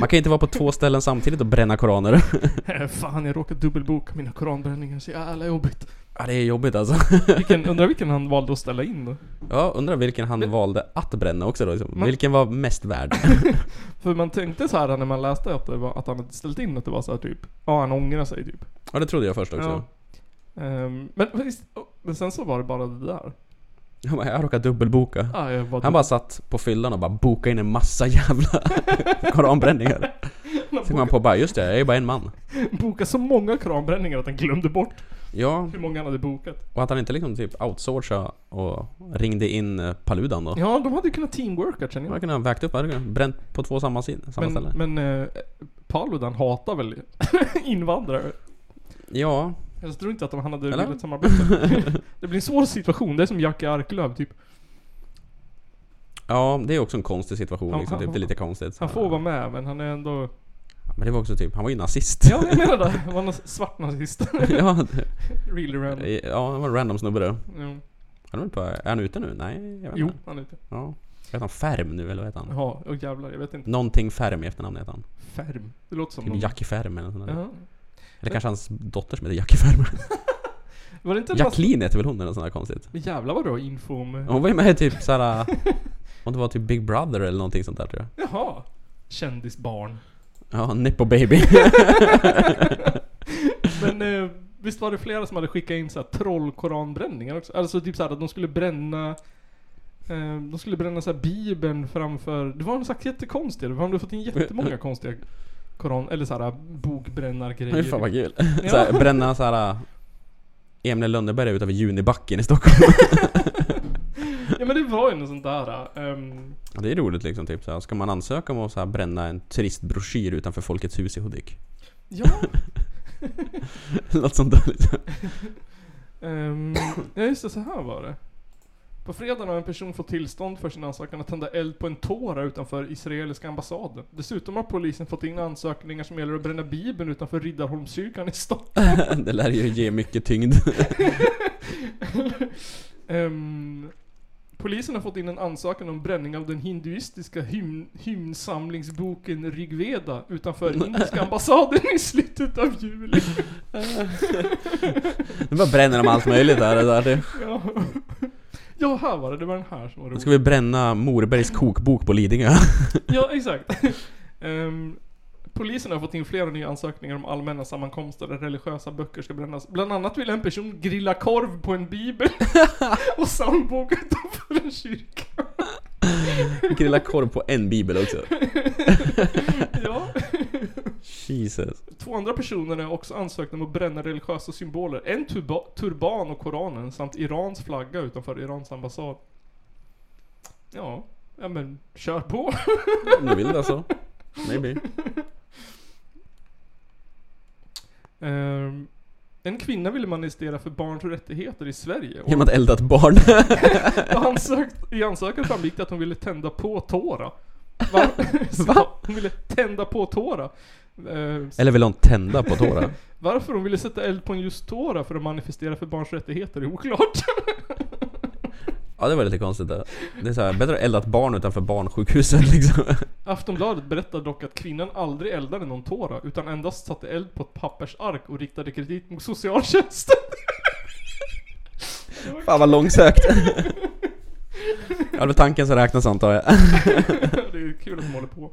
Man kan inte vara på två ställen samtidigt och bränna koraner. Eh, Fan, jag råkade dubbelboka mina koranbränningar. Så jävla jobbigt. Ja, det är jobbigt alltså. Vilken, undrar vilken han valde att ställa in då? Ja, undrar vilken han valde att bränna också då. Liksom. Men- Vilken var mest värd? För man tänkte så här när man läste att, det var, att han hade ställt in att det var så här typ, ja han ångrar sig typ. Ja, det trodde jag först också. Ja. Ehm, men, visst, men sen så var det bara det där. Jag, bara, jag råkade dubbelboka. Ah, jag var Han bara satt på fyllan och bara bokade in en massa jävla koranbränningar. Sen kom han på bara, just det, jag är ju bara en man. boka så många kranbränningar att han glömde bort Ja, hur många han hade bokat. och att han inte liksom typ outsourcade och ringde in eh, Paludan då. Ja, de hade ju kunnat teamworka känner Man jag. kunde ha vägt upp, hade kunnat bränt på två samma, sid- samma ställe. Men, men eh, Paludan hatar väl invandrare? Ja, Jag tror inte att de, han hade Eller? velat samarbeta. det blir en svår situation. Det är som Jackie Arklöv typ. ja, det är också en konstig situation Han- liksom, typ. Det är lite konstigt. Han får vara med men han är ändå... Men det var också typ, han var ju nazist. Ja, jag menar det. Han var en svart nazist. ja, really random. det- ja, han var en random snubbe där. Ja. Han är, väl på, är han ute nu? Nej, jag vet Jo, inte. han är inte. Ja. Heter han Färm nu eller vad heter han? Jaha, och jävlar. Jag vet inte. Någonting Färm i efternamn heter han. Färm. Det låter som någon. Typ Jackie Färm eller något sånt där. Jaha. Eller kanske hans dotter som heter Jackie Färm. Var det inte en massa... Jacqueline heter väl hon eller något sånt där konstigt? Jävlar vad du har info om... Hon var ju med i typ såhär... Om det var typ Big Brother eller någonting sånt där tror jag. Jaha. Kändisbarn. Ja, Nippo Baby. Men eh, visst var det flera som hade skickat in så här trollkoranbränningar också? Alltså typ såhär att de skulle bränna eh, de skulle bränna så här bibeln framför... Det var en sak jättekonstig. De hade fått in jättemånga konstiga koran... Eller såhär Fy bokbrännargrejer. fan vad kul. Ja. Såhär, bränna såhär... Emil Lönneberg utanför Junibacken i Stockholm. Ja men det var ju något sånt där. ehm, Ja, det är roligt liksom. Typ, såhär. Ska man ansöka om att såhär, bränna en turistbroschyr utanför Folkets hus i Hudik? ja. Något sånt där liksom. ehm, ja just det, så här var det. På fredagen har en person fått tillstånd för sin ansökan att tända eld på en tåra utanför israeliska ambassaden. Dessutom har polisen fått in ansökningar som gäller att bränna bibeln utanför Riddarholmskyrkan i Stockholm. Det lär ju ge mycket tyngd. Ehm, polisen har fått in en ansökan om bränning av den hinduistiska hymn, hymnsamlingsboken Rigveda utanför indiska ambassaden i slutet av juli. Nu bara bränner de allt möjligt här. Så här. Det- ja. ja, här var det. Det var den här som var Då rolig. ska vi bränna Morbergs kokbok på Lidingö. Ja, exakt. Ehm, polisen har fått in flera nya ansökningar om allmänna sammankomster där religiösa böcker ska brännas. Bland annat vill en person grilla korv på en bibel och psalmbok utanför en kyrka. Grilla korv på en bibel också. Ja. Jesus. Två andra personer är också ansökta om att bränna religiösa symboler. En turba- turban och koranen samt Irans flagga utanför Irans ambassad. Ja, ja men kör på. Om du vill alltså. Maybe. Ehm, en kvinna ville manifestera för barns rättigheter i Sverige. Och Genom att elda ett barn. ansökt, I ansökan framgick det att hon ville tända på tåra. Va? Va? Hon ville tända på tåra. Ehm, Eller vill hon tända på tårar? varför hon ville sätta eld på en just tåra för att manifestera för barns rättigheter är oklart. Ja det var lite konstigt det. Det är så här, bättre att elda ett barn utanför barnsjukhuset liksom. Aftonbladet berättar dock att kvinnan aldrig eldade någon tåra utan endast satte eld på ett pappersark och riktade kritik mot socialtjänsten. Fan vad långsökt. Ja det var tanken som räknas antar jag. Det är kul att de håller på.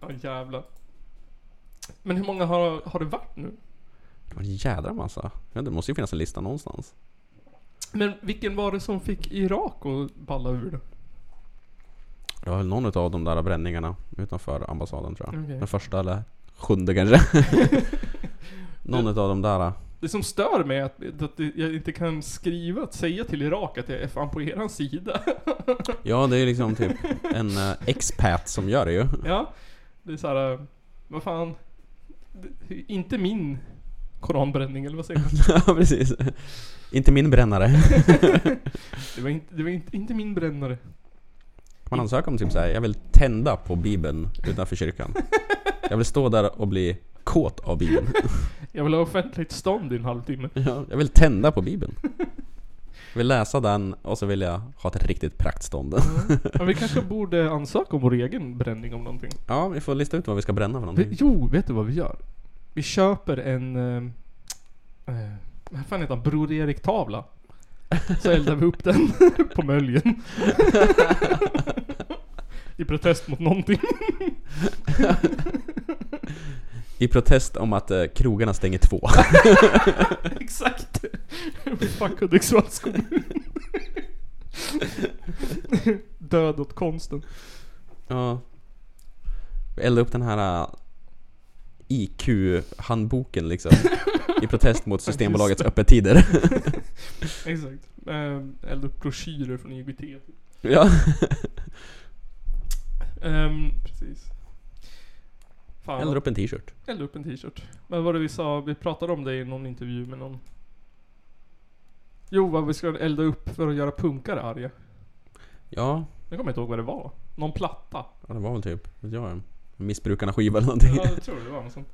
Ja jävlar. Men hur många har, har det varit nu? Det var en jädra massa. Jag vet inte, Det måste ju finnas en lista någonstans. Men vilken var det som fick Irak att balla ur då? Det var väl någon av de där bränningarna utanför Mm. ambassaden tror jag. Okej. Den första eller sjunde kanske. någon av de där. Det som stör mig är att, att jag inte kan skriva, att säga till Irak att jag är fan på eran sida. Ja, det är liksom typ en eh, expat som gör det ju. ja, det är såhär, eh, vad fan. Det, inte min koranbränning eller vad säger man? ja, precis. Inte min brännare. Det var, inte, det var inte, inte min brännare. Kan man ansöka om typ såhär, jag vill tända på bibeln utanför kyrkan. Jag vill stå där och bli kåt av bibeln. Jag vill ha offentligt stånd i en halvtimme. Ja, jag vill tända på bibeln. Jag vill läsa den och så vill jag ha ett riktigt praktstånd. Men vi kanske borde ansöka om vår egen bränning om någonting. Ja, vi får lista ut vad vi ska bränna för Vi, någonting. jo, vet du vad vi gör? Vi köper en... eh, eh, Vad fan heter han? Bror Erik-tavla. Så eldar vi upp den på möljen. I protest mot någonting. I protest om att eh, krogarna stänger två. Exakt. Fuck Hudiksvalls kommun. Död åt konsten. Ja. Vi eldade upp den här eh, IQ-handboken liksom. I protest mot Systembolagets öppettider. Exakt. Eh, Elda upp broschyrer från E IGT. ja. Ehm, precis. Fan, Eldar upp en t-shirt. Eller upp en t-shirt. Men vad var det vi sa? Vi pratade om det i någon intervju med någon. Jo, vad vi ska elda upp för att göra punkare arga. Ja, Jag kommer inte ihåg vad det var. Någon platta. ja det var väl typ, vet jag, en missbrukarna skiva eller någonting. Ja, jag tror det var något sånt.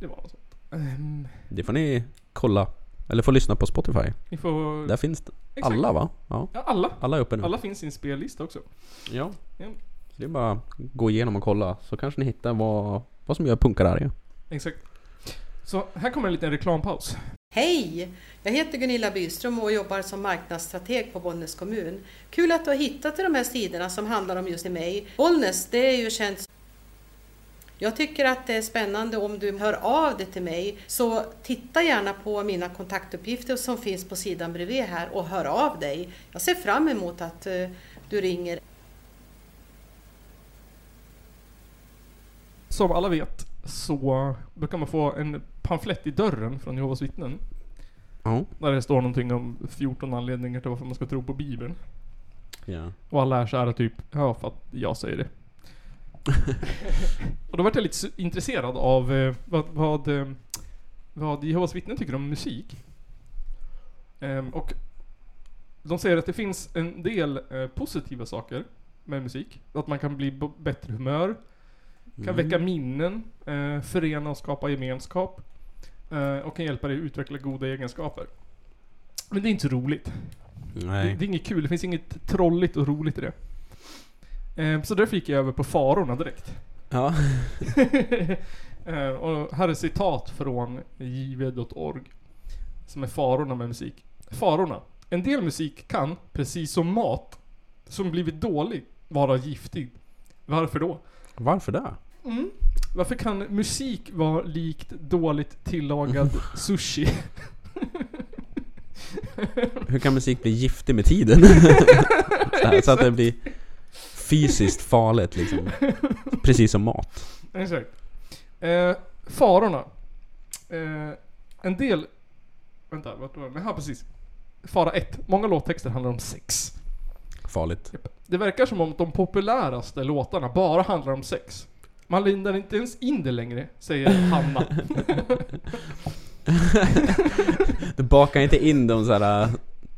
Det var något sånt. Ehm, Det får ni kolla. Eller får lyssna på Spotify. ni får... Där finns det. Exakt. alla va? Ja. Ja, alla. Alla är uppe nu. Alla finns i en spellista också. Ja. Ja. Så det är bara att gå igenom och kolla så kanske ni hittar vad, vad som gör punkare arga. Exakt. Så här kommer en liten reklampaus. Hej! Jag heter Gunilla Byström och jobbar som marknadsstrateg på Bollnäs kommun. Kul att du har hittat till de här sidorna som handlar om just mig. Bollnäs, det är ju känt... Jag tycker att det är spännande om du hör av dig till mig, så titta gärna på mina kontaktuppgifter som finns på sidan bredvid här och hör av dig. Jag ser fram emot att eh, du ringer. Som alla vet så brukar man få en pamflett i dörren från Jehovas vittnen. Ja. Där det står någonting om 14 anledningar till varför man ska tro på Bibeln. ja. Och alla är såhär typ, ja för att jag säger det. och då vart jag lite su- intresserad av eh, vad, vad, eh, vad Jehovas vittnen tycker om musik. Ehm, och de säger att det finns en del eh, positiva saker med musik. Att man kan bli på bättre humör, kan väcka minnen, eh, förena och skapa gemenskap. Eh, och kan hjälpa dig att utveckla goda egenskaper. Men det är inte så roligt. Det, Nej. det är inget kul, det finns inget trolligt och roligt i det. Ehm, så därför gick jag över på farorna direkt. Ja. Ehm, och här är citat från jv.org. Som är farorna med musik. Farorna. En del musik kan, precis som mat, som blivit dålig, vara giftig. Varför då? Varför det? Varför kan musik vara likt dåligt tillagad sushi? Hur kan musik bli giftig med tiden? så, här, så att det blir fysiskt farligt liksom. Precis som mat. Exakt. Eh, farorna. Eh, en del... Vänta, vart var det? Här precis. Fara 1. Många låttexter handlar om sex. Farligt. Det verkar som om de populäraste låtarna bara handlar om sex. Man lindar inte ens in det längre, säger Hanna. Du bakar inte in de så här äh,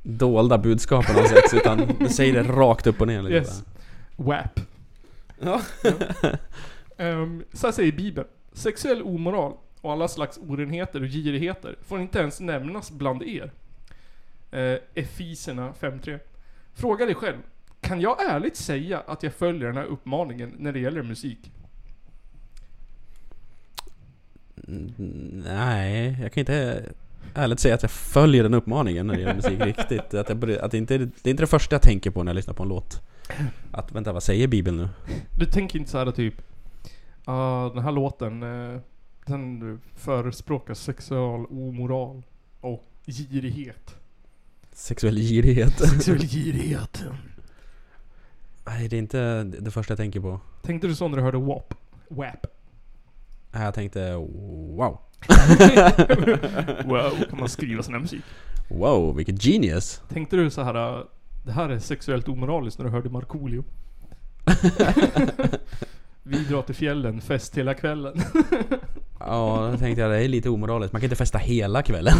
dolda budskapen av sex utan du säger det rakt upp och ner. Liksom. Yes. WAP. Ja. Ehm, så här säger Bibeln. Sexuell omoral och alla slags orenheter och girigheter får inte ens nämnas bland er. Uh, Efeserna 5.3. Fråga dig själv. Kan jag ärligt säga att jag följer den här uppmaningen när det gäller musik? Nej, jag kan inte ärligt säga att jag följer den uppmaningen när det gäller musik riktigt. Att jag, bry- att det, inte, det är inte det första jag tänker på när jag lyssnar på en låt. Att vänta, vad säger Bibeln nu? Du tänker inte så här typ... ah den här låten, eh, den förespråkar sexuell omoral och girighet. Sexuell girighet. Sexuell girighet. Nej, det är inte det första jag tänker på. Tänkte du så när du hörde WAP? WAP. Nej, Jag tänkte wow. Wow, kan man skriva sån här musik? Wow, vilket genius! Tänkte du så här, äh, det här är sexuellt omoraliskt när du hörde Markoolio? Vi drar till fjällen, fest hela kvällen. Ja, då tänkte jag det är lite omoraliskt. Man kan inte festa hela kvällen.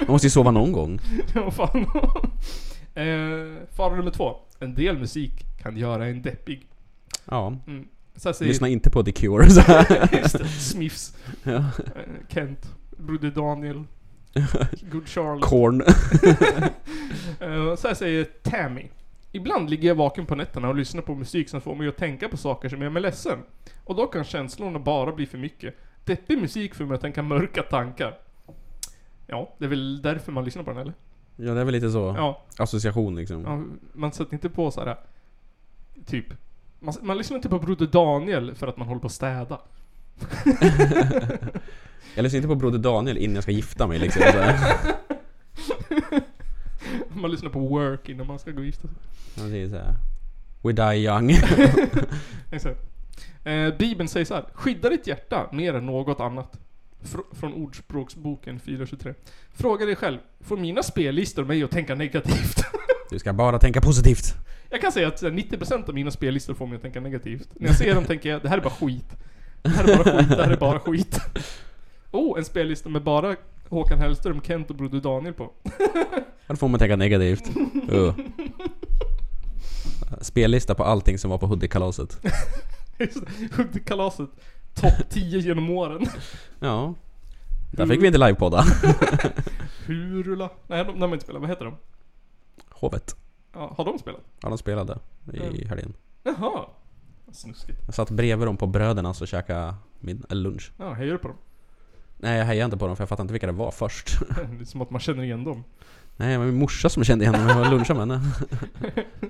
Man måste ju sova någon gång. Ja, fan. eh, fara nummer två. En del musik kan göra en deppig. Ja, Mm. Så här säger lyssna inte på The Cure. Så här. Just det, Smiths. Ja. Eh, Kent. Broder Daniel. Good Charlotte. Korn. Eh, Så här säger Tammy. Ibland ligger jag vaken på nätterna och lyssnar på musik som får mig att tänka på saker som gör mig ledsen. Och då kan känslorna bara bli för mycket. Deppig musik får mig att tänka mörka tankar. Ja, det är väl därför man lyssnar på den eller? Ja, det är väl lite så. Ja. Association liksom. ja man sätter inte på så här. Typ. Man, man lyssnar inte på Broder Daniel för att man håller på att städa. Jag lyssnar inte på Broder Daniel innan jag ska gifta mig liksom. Så här. Man lyssnar på Work innan man ska gå och gifta sig. Ja, det är så här. We die young. Exakt. Eh, Bibeln säger så här. Skydda ditt hjärta mer än något annat. Fr- från Ordspråksboken 4.23. Fråga dig själv. Får mina spellistor mig att tänka negativt? Du ska bara tänka positivt. jag kan säga att så här, 90% av mina spellistor får mig att tänka negativt. När jag ser dem tänker jag, det här är bara skit. Det här är bara skit, det här är bara skit. Oh, en spellista med bara Håkan Hellström, Kent och Broder Daniel på. Ja, Då får man tänka negativt. Uh. Spellista på allting som var på Hoodie-kalaset. Just det, Huggkalaset. Topp 10 genom åren. Ja. Där fick vi inte livepodda. Hurula. Nej, de, de har inte spelat. Vad heter de? Hovet. Ja, har de spelat? Ja, de spelade i helgen. Jaha. Snuskigt. Jag satt bredvid dem på bröderna och käkade min eller lunch. Ja, hejar du på dem? Nej, jag hejade inte på dem för jag fattade inte vilka det var först. Det är som att man känner igen dem. Nej, det var min morsa som kände igen dem. Jag var lunchade med henne.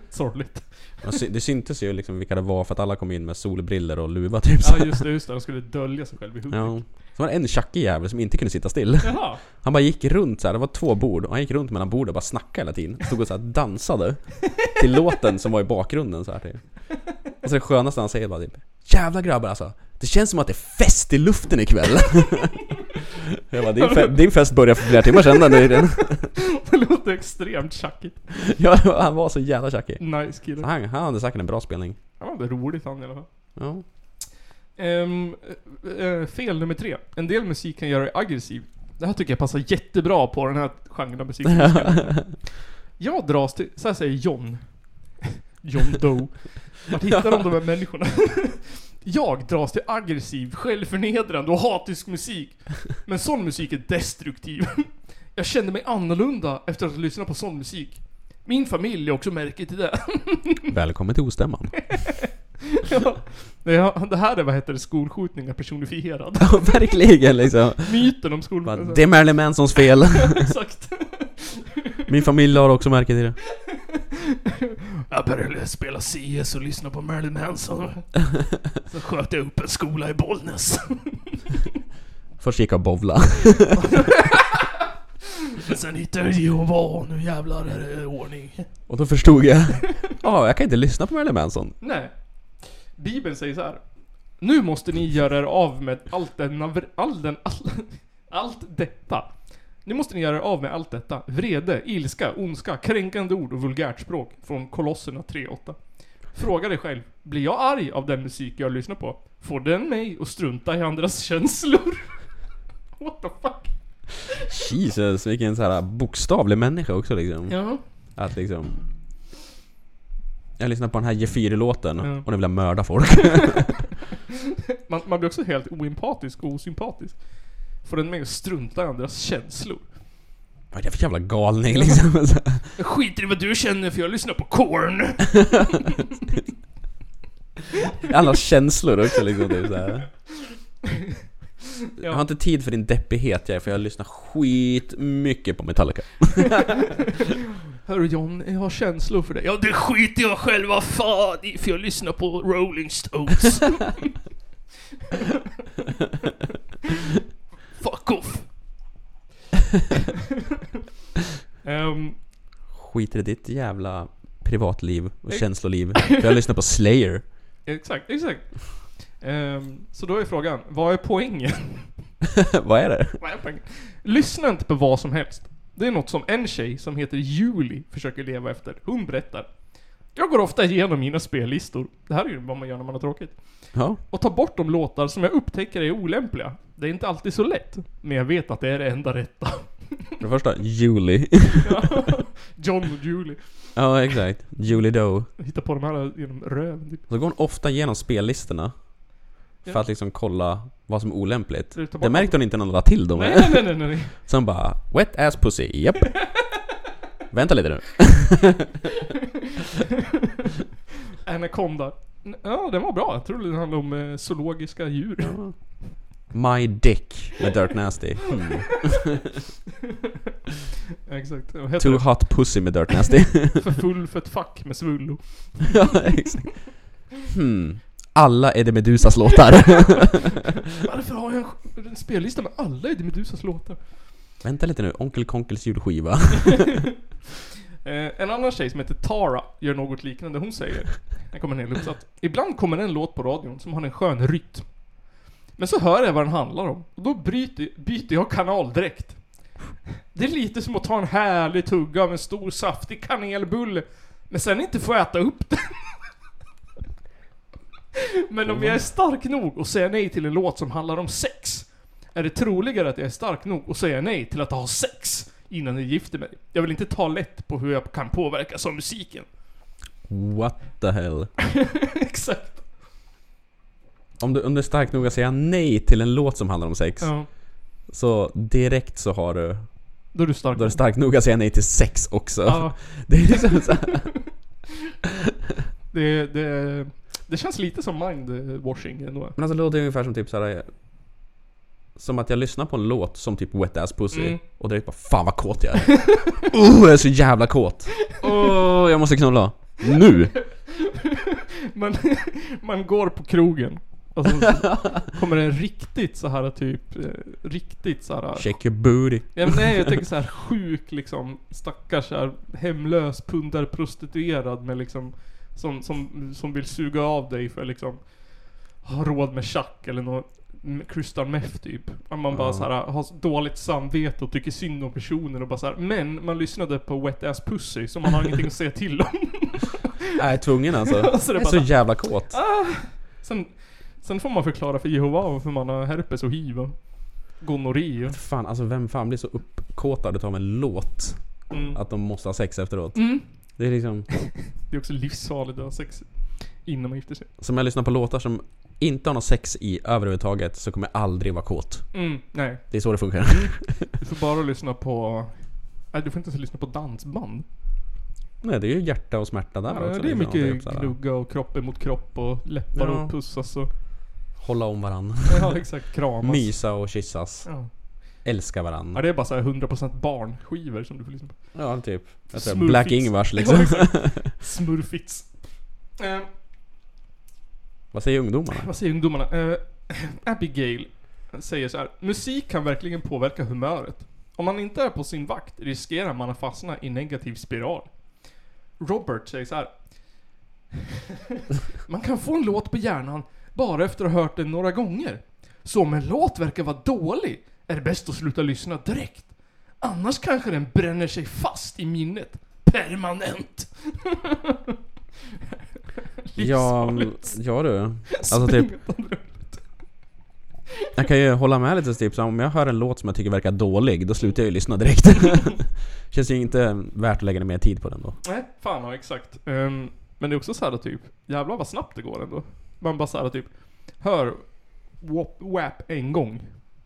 Sorgligt. Och sy- Det syntes ju liksom vilka det var för att alla kom in med solbriller och luva typ. Så. Ja, just det, just det. De skulle dölja sig själv i huvudet. Ja. Så var det en tjackig jävel som inte kunde sitta still. Jaha. Han bara gick runt så här. det var två bord och han gick runt mellan borden och bara snackade hela tiden. Stod och så här dansade till låten som var i bakgrunden så här typ. Och så det skönaste han säger bara typ Jävla grabbar alltså, det känns som att det är fest i luften ikväll. Jag bara, din, fe- din fest började för flera timmar sedan den där idén." Det låter extremt tjackigt. Ja, han var så jävla tjackig. Nice kille. Han, han hade säkert en bra spelning. Han var väl roligt han i alla fall. Ja. Ehm, eh, fel nummer tre. En del musik kan göra dig aggressiv. Det här tycker jag passar jättebra på den här genren av musik. som jag spelar. Jag dras till, så här säger John. John Doe. Vart hittar de de här människorna? Jag dras till aggressiv, självförnedrande och hatisk musik. Men sån musik är destruktiv. Jag känner mig annorlunda efter att ha lyssnat på sån musik. Min familj är också märke till det. Välkommen till ostämman. Ja. Det här- det här är vad heter det, skolskjutningar personifierad. Ja, verkligen liksom. Myten om Bara, skolskjutningar. det är Marilyn Mansons fel. Exakt. Min familj har också märke till det. Jag började spela CS och lyssna på Marilyn Manson. Så sköt jag upp en skola i Bollnäs. Först gick jag och bowlade. Men sen hittade jag Jehova och nu jävlar är det ordning. Och då förstod jag. Ja, jag kan inte lyssna på Marilyn Manson. Nej. Bibeln säger så här. Nu måste ni göra er av med allt denna, all den, all, allt detta. Nu måste ni göra er av med allt detta. Vrede, ilska, ondska, kränkande ord och vulgärt språk. Från Kolosserna 3.8. Fråga dig själv. Blir jag arg av den musik jag lyssnar på? Får den mig att strunta i andras känslor? What the fuck? Jesus, vilken så här bokstavlig människa också liksom. Ja. Att liksom... Jag lyssnar på den här G4-låten Ja. och nu vill jag mörda folk. Man, man blir också helt oempatisk och osympatisk. Får den mig att strunta i andras känslor? Vad är det för jävla galning liksom? Så här. Jag skiter i vad du känner för jag lyssnar på Korn. Alla känslor också liksom. Typ, så här. Jag har Ja. inte tid för din deppighet jag, för jag lyssnar skitmycket på Metallica. Hörru John, jag har känslor för dig. Ja, det skiter jag själva fan i, för jag lyssnar på Rolling Stones. Fuck off! Ehm, Skiter i ditt jävla privatliv och känsloliv. För jag lyssnar på Slayer. exakt, exakt. Ehm, så då är frågan, vad är poängen? Vad är det? Lyssna inte på vad som helst. Det är något som en tjej som heter Julie försöker leva efter. Hon berättar. Jag går ofta igenom mina spellistor. Det här är ju vad man gör när man har tråkigt. Ja. Och tar bort de låtar som jag upptäcker är olämpliga. Det är inte alltid så lätt. Men jag vet att det är det enda rätta. För det första, Julie. John och Julie. ja, exakt. Julie Doe. Hittar på de här genom röven typ. Så går hon ofta igenom spellistorna. För Ja. att liksom kolla vad som är olämpligt. Du tar bort Det märkte hon inte när hon la till dem. Nej, nej, nej, nej, nej. Så hon bara, wet ass pussy, japp. Vänta lite nu. Anaconda. Ja, den var bra. Jag tror den handlade om eh, zoologiska djur. My dick med Dirt Nasty. Hmm. Exakt. Vad heter Too det? hot pussy med Dirt Nasty. För full för ett fack med svullo. ja, exakt. Hmm. Alla är det Medusas låtar. Varför har jag en, sk- en spellista med alla Eddie Medusas låtar? Vänta lite nu, Onkel Konkels julskiva. Eh, en annan tjej som heter Tara gör något liknande. Hon säger, här kommer en hel uppsats. Ibland kommer en låt på radion som har en skön rytm. Men så hör jag vad den handlar om och då bryter, byter jag kanal direkt. Det är lite som att ta en härlig tugga av en stor saftig kanelbulle men sen inte få äta upp den. Men om jag är stark nog och säger nej till en låt som handlar om sex är det troligare att jag är stark nog och säga nej till att ha sex innan jag gifter mig. Jag vill inte ta lätt på hur jag kan påverkas av musiken. What the hell? Exakt. Om du, om du är stark nog att säga nej till en låt som handlar om sex, Ja. så direkt så har du... Då är du stark. Då är du stark nog att säga nej till sex också. Ja, Det är liksom så här, det, det, det känns lite som mindwashing ändå. Men alltså låter är ungefär som typ såhär... Som att jag lyssnar på en låt som typ Wet Ass Pussy Mm. och direkt bara Fan vad kåt jag är! oh, jag är så jävla kåt! Åh, jag måste knulla! Nu! Man, man går på krogen. Och sen så kommer det en riktigt så här typ, eh, riktigt så här. Shake your booty! Ja, men nej, jag tänker så här sjuk liksom, stackars så här, hemlös pundarprostituerad med liksom, som, som, som vill suga av dig för liksom, ha råd med tjack eller något m- crystal meth typ. Att man bara så här, har dåligt samvete och tycker synd om personen och bara så här. Men man lyssnade på Wet Ass Pussy så man har ingenting att säga till om. Jag är tvungen alltså. Alltså, det jag bara är så så här- jävla kåt. Sen, sen får man förklara för Jehova varför man har herpes och hiv och gonorré. och- Fan, alltså vem fan blir så uppkåtad utav en låt? Mm. Att de måste ha sex efteråt. Mm. Det är liksom... Det är också livsfarligt att ha sex innan man gifter sig. Som jag lyssnar på låtar som inte har något sex i överhuvudtaget så kommer jag aldrig vara kåt. Mm, nej. Det är så det funkar. Du får bara lyssna på... Nej, du får inte ens lyssna på dansband. Nej, det är ju hjärta och smärta där Ja, också. det är liksom. mycket Typ såhär, gnugga och kropp emot kropp och läppar Ja. och pussas och... Hålla om varandra. Ja, exakt. Kramas. Mysa och kyssas. Ja. Älska ja, varandra. det är bara såhär 100% barnskivor som du får lyssna på. Ja, typ. Jag tror Smurfits. Black Ingvars liksom. Ja, exakt. Smurfits. Eh, Vad säger ungdomarna? vad säger ungdomarna? Eh, Abigail säger så här. Musik kan verkligen påverka humöret. Om man inte är på sin vakt riskerar man att fastna i negativ spiral. Robert säger så här. Man kan få en låt på hjärnan bara efter att ha hört den några gånger. Så om en låt verkar vara dålig är det bäst att sluta lyssna direkt. Annars kanske den bränner sig fast i minnet. Permanent. Ja, Livsfarligt. ja du. Alltså typ, jag kan ju hålla med lite typ så om jag hör en låt som jag tycker verkar dålig, då slutar jag ju lyssna direkt. Känns ju inte värt att lägga ner mer tid på den då. Nej, fan ja, exakt. Ehm, men det är också så här typ, jävlar vad snabbt det går ändå. Man bara så här typ, hör WAP, WAP en gång.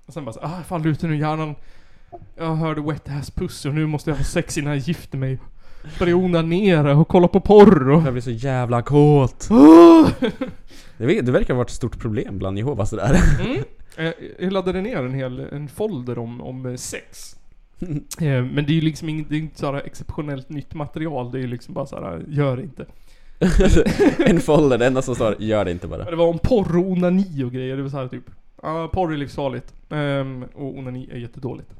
Och sen bara så, ah fan luten ur hjärnan. Jag hörde wet ass pussy och nu måste jag ha sex innan jag gifter mig. Börja onanera och kolla på porr och... Jag blir så jävla kåt. Ah! Det, ver- det verkar ha varit ett stort problem bland Jehovas det där. Eh, Jag laddade ner en hel en folder om, om eh, sex. Eh, Men det är ju liksom inget, det är inte såhär exceptionellt nytt material. Det är ju liksom bara såhär, gör inte. en folder, det enda som står 'Gör det inte Ja, bara' Det var om porr och onani och grejer. Det var så här typ. Ja, porr är livsfarligt. Ehm, och onani är jättedåligt.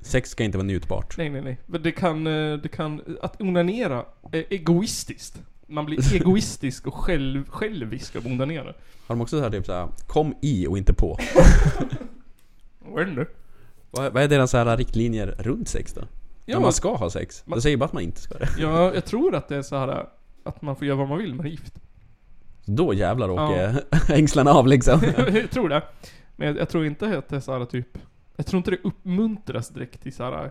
Sex ska inte vara njutbart. Nej, nej, nej. Men det kan, eh, det kan, att onanera är egoistiskt. man blir egoistisk och själv, självisk av onda nere. Har de också så här typ såhär, kom i och inte på? Vad är det nu? vad, vad är deras så här riktlinjer runt sex då? Ja, När men- man ska ha sex? man- det säger bara att man inte ska det. Ja, jag tror att det är så här att man får göra vad man vill man är gift. Då jävlar Ja. åker ängslarna av liksom. jag tror det. Men jag, jag tror inte att det är så här typ... Jag tror inte det uppmuntras direkt till så här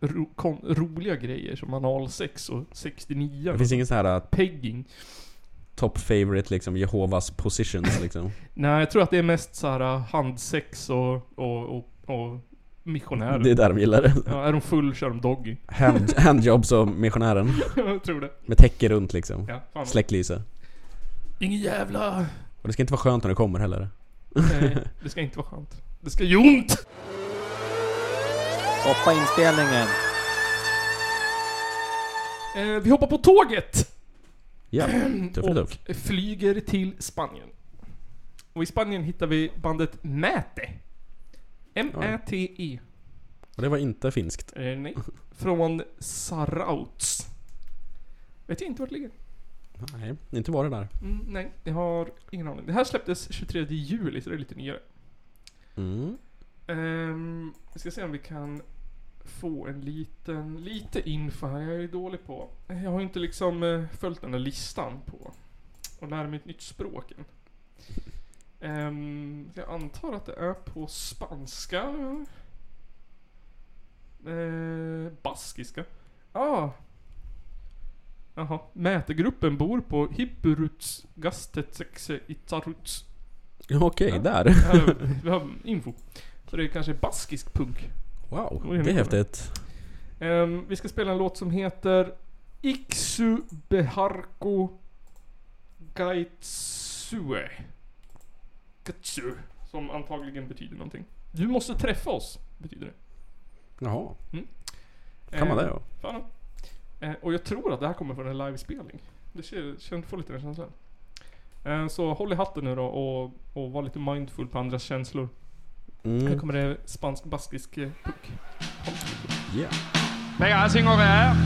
ro, kon, roliga grejer som analsex och 69 Det finns ingen sån här uh, pegging. top favorite liksom, Jehovas positions liksom. Nej, jag tror att det är mest så här äh, handsex och, och, och, och missionärer. Det är där de gillar det. Ja, är de full kör de doggy. Hand, handjobs och missionären. jag tror det. Med täcke runt liksom. Ja, fan. Släcklyse. Ingen jävla... Och det ska inte vara skönt när det kommer heller. Nej, det ska inte vara skönt. Det ska göra ont! Stoppa inspelningen. Eh, vi hoppar på tåget! Ja, tuff och är tuff. flyger till Spanien. Och i Spanien hittar vi bandet Mäte. M-Ä-T-E. Och det var inte finskt. E. Eh, nej. Från Sarauts. Vet jag inte vart det ligger. Nej, inte var det där. Mm, nej, jag har ingen aning. Det här släpptes 23 juli, så det är lite nyare. Mm. Ehm, vi ska se om vi kan få en liten, lite info här. Jag är ju dålig på. Jag har ju inte liksom eh, följt den här listan på och lära mig ett nytt språk än. Ehm, jag antar att det är på spanska. Eh, baskiska. Ja. Ah. Jaha. Mätegruppen bor på Hippuruts Gastetexe i Taruts. Ja, Okej, Ja. där. Här har vi- vi har info. Så det är kanske baskisk punk. Wow, Oj, det är mycket. häftigt. Ehm, vi ska spela en låt som heter Iksu Beharko Gaitsue. Gatsu. Som antagligen betyder någonting. Du måste träffa oss, betyder det. Jaha, Mm. kan man Ehm, det då? Fan. Eh, och jag tror att det här kommer från en livespelning. Det kän- kän- får lite den känslan. Eh, så håll i hatten nu då och, och var lite mindful på andras känslor. Här Mm. kommer det spansk-baskisk eh, punk. Yeah. Venga, sin gång här.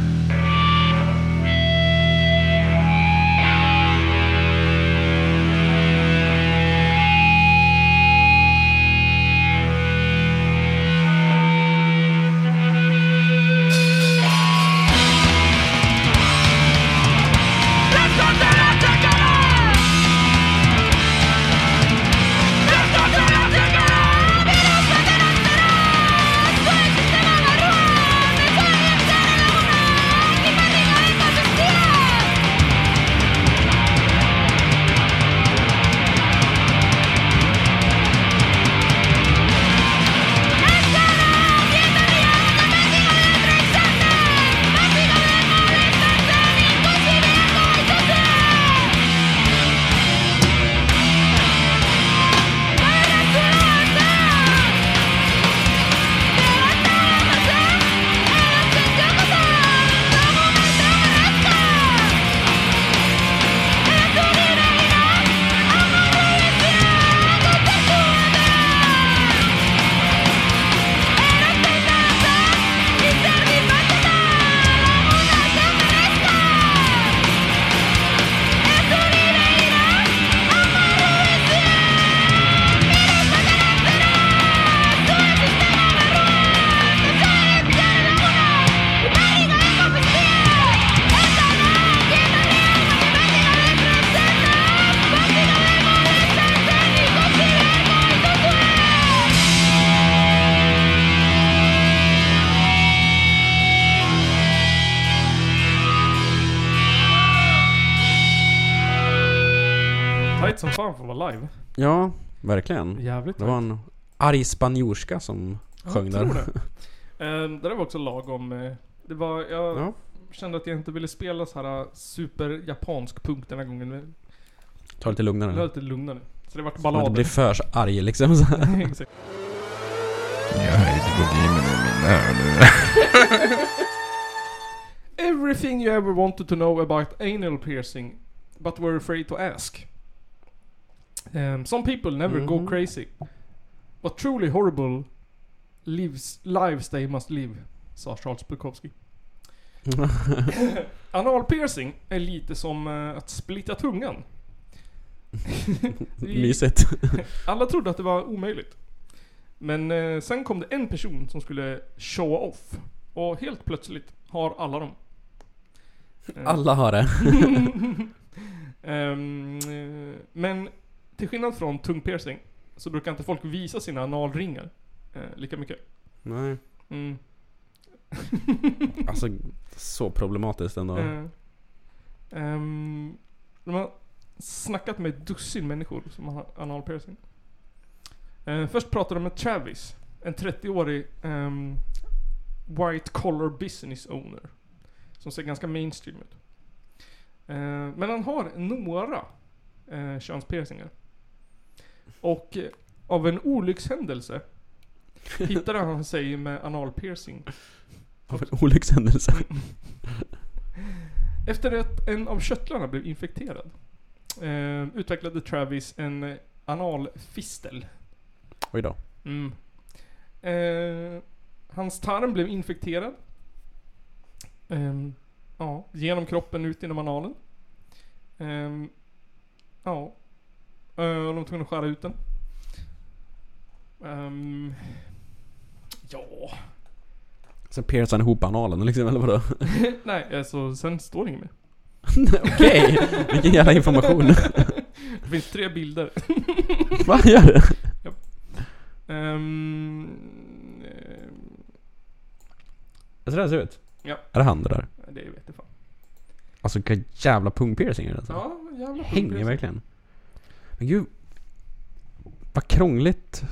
Tight som fan för att vara live. Ja, verkligen. Jävligt Det var en arg spanjorska som sjöng jag där. tror det. Ehm, det där var också lagom. eh, Det var, jag Ja. kände att jag inte ville spela så här eh, superjapansk punk den här gången. Men Ta lite Det var lugnare. lite lugnare. Så det vart Man inte ballader. blir för så arg liksom. Så här. Exakt. Everything you ever wanted to know about anal piercing, but were afraid to ask. Um, some people never go Mhm. crazy. But truly horrible lives, lives they must live, sa Charles Bukowski. Anal piercing är lite som eh, att splitta tungan. Vi- Mysigt. Alla trodde att det var omöjligt. Men eh, sen kom det en person som skulle show off. Och helt plötsligt har alla dem. Eh, Alla har det. Ehm, eh, men till skillnad från tungpiercing så brukar inte folk visa sina analringar eh, lika mycket. Nej. Mm. Alltså, så problematiskt ändå. Eh, ehm, de har snackat med ett dussin människor som har anal piercing. Eh, först pratade de med Travis, en 30-årig ehm, white collar business owner. Som ser ganska mainstream ut. Eh, men han har några uh, könspiercingar. Och eh, av en olyckshändelse hittade han sig med analpiercing Av en olyckshändelse. Efter att en av körtlarna blev infekterad eh, utvecklade Travis en eh, analfistel. Oj då. Mm. Eh, hans tarm blev infekterad. Ehm, ja, genom kroppen ut genom analen. Ehm, ja. Eh, och de var tvungna att skära ut den. Ehm, ja. Sen piercar han ihop analen liksom, eller vadå? Nej, alltså sen står det inget mer. Okej, vilken jävla information. det finns tre bilder. Va, gör det? Ja. Ehm, eh, Är så det här ser ut? Ja. Är det han det där? det vet jag fan. Alltså vilka jävla pungpiercingar det är, alltså. Ja, jävla Hänger verkligen. Men gud. Vad krångligt.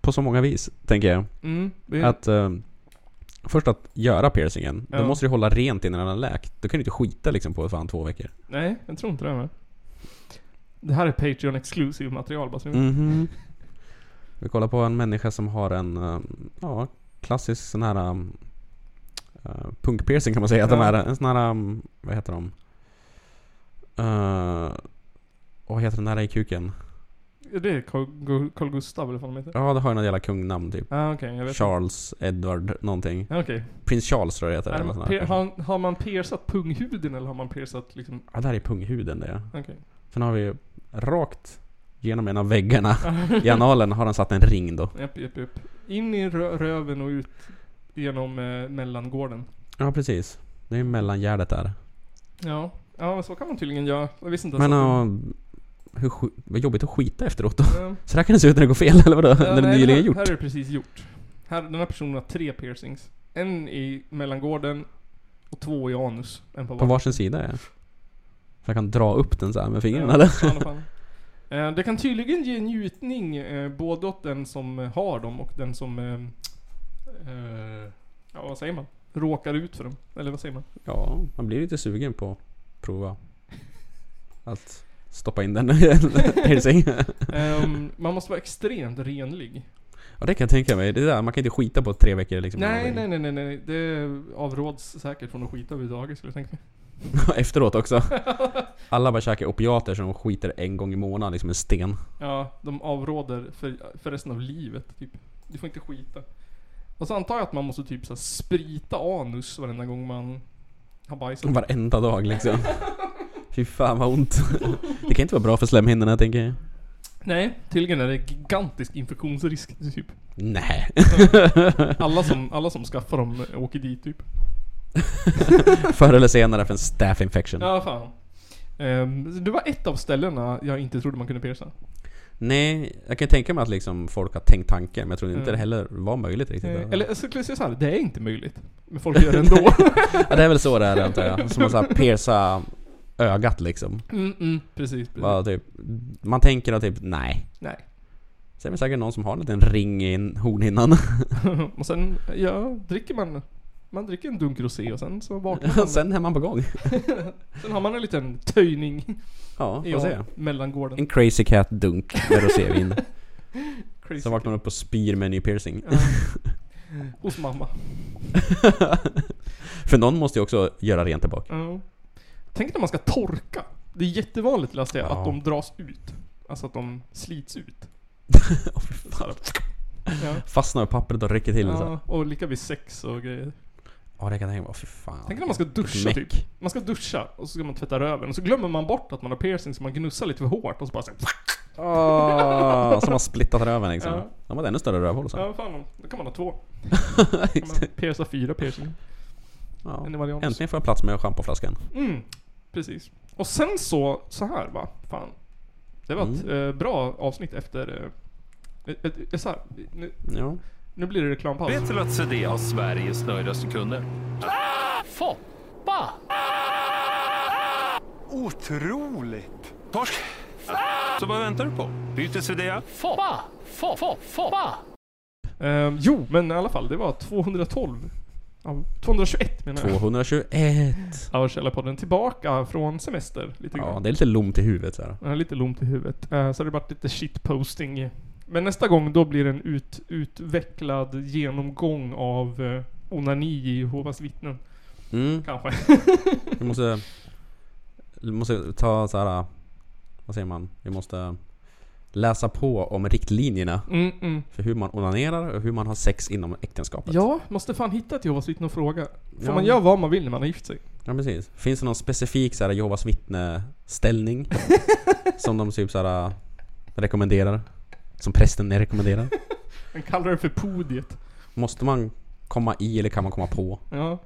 På så många vis, tänker jag. Mm, det är- Att... eh, först att göra piercingen. Ja. Då måste du hålla rent innan den har läkt. Då kan du inte skita liksom på fan två veckor. Nej, jag tror inte det med. Det här är Patreon exclusive material bara så ni vet. Mhm. Vi kollar på en människa som har en eh, ja, klassisk sån här um, eh, punkpiercing kan man säga att de Ja. är. En sån här, um, vad heter de? Eh, vad heter den där i kuken? Det är Carl- Carl- Carl Gustav eller vad de heter. Ja, det har ju något jävla kungnamn typ. Ah, okej, jag vet Charles, Edward, någonting. Ja, okej. Prins Charles tror jag det heter. Är Eller man något sånt pe- där. har, har man piercat punghuden eller har man piercat liksom... Ja, där är punghuden det. ja. Okej. Sen har vi rakt genom en av väggarna i analen har han satt en ring då. Japp, japp, japp. In i rö- röven och ut genom eh, mellangården. Ja, precis. Det är ju mellangärdet där. Ja. Ja, så kan man tydligen göra. Jag visste inte Men ens att- ja, hur sk- vad jobbigt att skita efteråt då. Ja. Så där kan det se ut när det går fel, eller vadå? Ja, när det nej, nyligen här, gjort. Här är det precis gjort. Här, den här personen har tre piercings. En i mellangården och två i anus. En på, På varsin sida ja. Så jag kan dra upp den så här med fingrarna Ja, eller? fan och fan. Eh, Det kan tydligen ge njutning eh, både åt den som eh, har dem och den som... eh, eh, Ja, vad säger man? Råkar ut för dem. Eller vad säger man? Ja, man blir lite sugen på att prova. Att stoppa in den i en piercing. Ehm, man måste vara extremt renlig. Ja det kan jag tänka mig. Det där, man kan inte skita på tre veckor liksom. Nej, nej, nej, nej, nej. Det avråds säkert från att skita överhuvudtaget skulle jag tänka mig. Efteråt också. Alla bara käkar opiater som skiter en gång i månaden, liksom en sten. Ja, de avråder för, för resten av livet. Typ. Du får inte skita. Och så antar jag att man måste typ så här sprita anus varenda gång man har bajsat. Varenda dag liksom. Fy fan vad ont. Det kan inte vara bra för slemhinnorna tänker jag. Nej, tydligen är det gigantisk infektionsrisk typ. Nej. Alla som, alla som skaffar dem åker dit typ. Förr eller senare för en staff infection. Ja, fan. Ehm, det var ett av ställena jag inte trodde man kunde pierca. Nej, jag kan tänka mig att liksom folk har tänkt tanken men jag trodde inte Mm. det heller var möjligt riktigt. Eh, eller jag skulle säga såhär, det är inte möjligt. Men folk gör det ändå. ja, det är väl så det är antar jag. Som att så här pierca ögat liksom. mm, mm, precis, precis. Bara, typ, man tänker att typ nej. Nej. Sen är det säkert någon som har en liten ring i en hornhinnan. och sen, ja, dricker man... Man dricker en dunk rosé och sen så vaknar man. Sen är man på gång. Sen har man en liten töjning Ja, i får se. mellangården. En crazy cat dunk med rosévin. Crazy Sen vaknar man upp och spyr med en ny piercing. Ja. Hos mamma. För någon måste ju också göra rent där bak. Ja. Tänk när man ska torka. Det är jättevanligt läste jag, att de dras ut. Alltså att de slits ut. Så här. ja. Fastnar i pappret och rycker till. Så. ja, och lika vid sex och grejer. Ja, det kan jag tänka mig. Fy fan. Tänk när man ska duscha Meck. typ. Man ska duscha och så ska man tvätta röven och så glömmer man bort att man har piercing så man gnussar lite för hårt och så bara såhär... Åh, Ah, som har splittat röven liksom. Ja. De hade ännu större rövhål sen. Ja, fan. Då kan man ha två. kan man pierca fyra piercing. Ja. En i varje anus. Äntligen får jag plats med schampoflaskan. Mm, precis. Och sen så, så här va. Fan. Det var ett Mm. eh, bra avsnitt efter... Eh, ett, ett, ett, så här, nu, ja. nu blir det reklampaus. Vet du att CD har Sveriges nöjdaste kunder? Foppa! Otroligt! Torsk! Så vad väntar du på? Byt till CD. Foppa! Foppa! Foppa! Ehm, jo, men i alla fall. Det var 212. Ja, 221 menar jag. 221. Av Källarpodden. Tillbaka från semester lite grann. Ja, det är lite lomt i huvudet så här. Jag är lite lomt i huvudet. Eh, Så har det varit lite shitposting. Men nästa gång då blir det en ut, utvecklad genomgång av eh, onani i Jehovas vittnen. Mm. Kanske. Vi måste... Vi måste ta så här. Vad säger man? Vi måste läsa på om riktlinjerna. Mm, mm. För hur man onanerar och hur man har sex inom äktenskapet. Ja, måste fan hitta ett Jehovas vittne och fråga. Får Ja. man göra vad man vill när man har gift sig? Ja precis. Finns det någon specifik så här, Jehovas vittne-ställning? som de typ så här, rekommenderar? Som prästen rekommenderar? Man kallar det för podiet. Måste man komma i eller kan man komma på? Ja.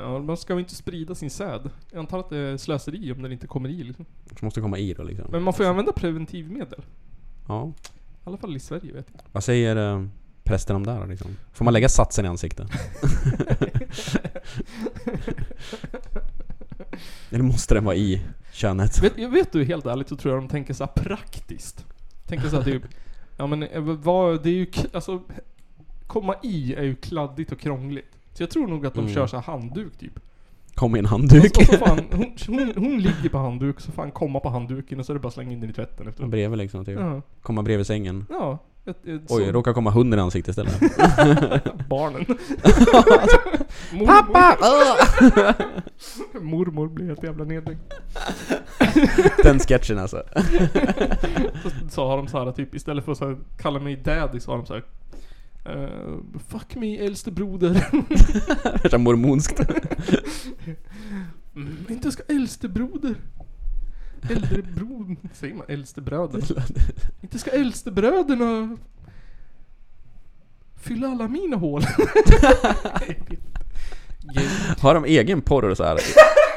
Ja, man ska väl inte sprida sin säd. Jag antar att det är slöseri om den inte kommer i liksom. Så måste komma i då liksom. Men man får ju använda preventivmedel. Ja. I alla fall i Sverige vet jag. Vad säger eh, prästen om det här då, liksom? Får man lägga satsen i ansiktet? eller måste den vara i könet? Vet, jag vet du, helt ärligt så tror jag de tänker så här praktiskt. Tänker så här typ, ja men eh, vad, det är ju, k- alltså, komma i är ju kladdigt och krångligt. Så jag tror nog att de Mm. kör så här handduk typ. Kom i en handduk. Och så fan, hon, hon, hon ligger på handduk, så fan komma på handduken och så är det bara att slänga in den i tvätten efteråt. Bredvid liksom, typ. Ja. Komma bredvid sängen. Ja. Ett, ett Oj, sånt- råkar komma hunden i ansiktet istället. Barnen. Mormor. Pappa! Mormor blir helt jävla nedringd. Den sketchen alltså. så, så har de så här typ, istället för att så här, kalla mig daddy så har de så här. eh, fuck me äldste broder. Så här Mormonskt. Mm, inte ska äldste broder. Äldre bro... Säger man äldste bröder? Inte ska äldste bröderna fylla alla mina hål. Har de egen porr så här?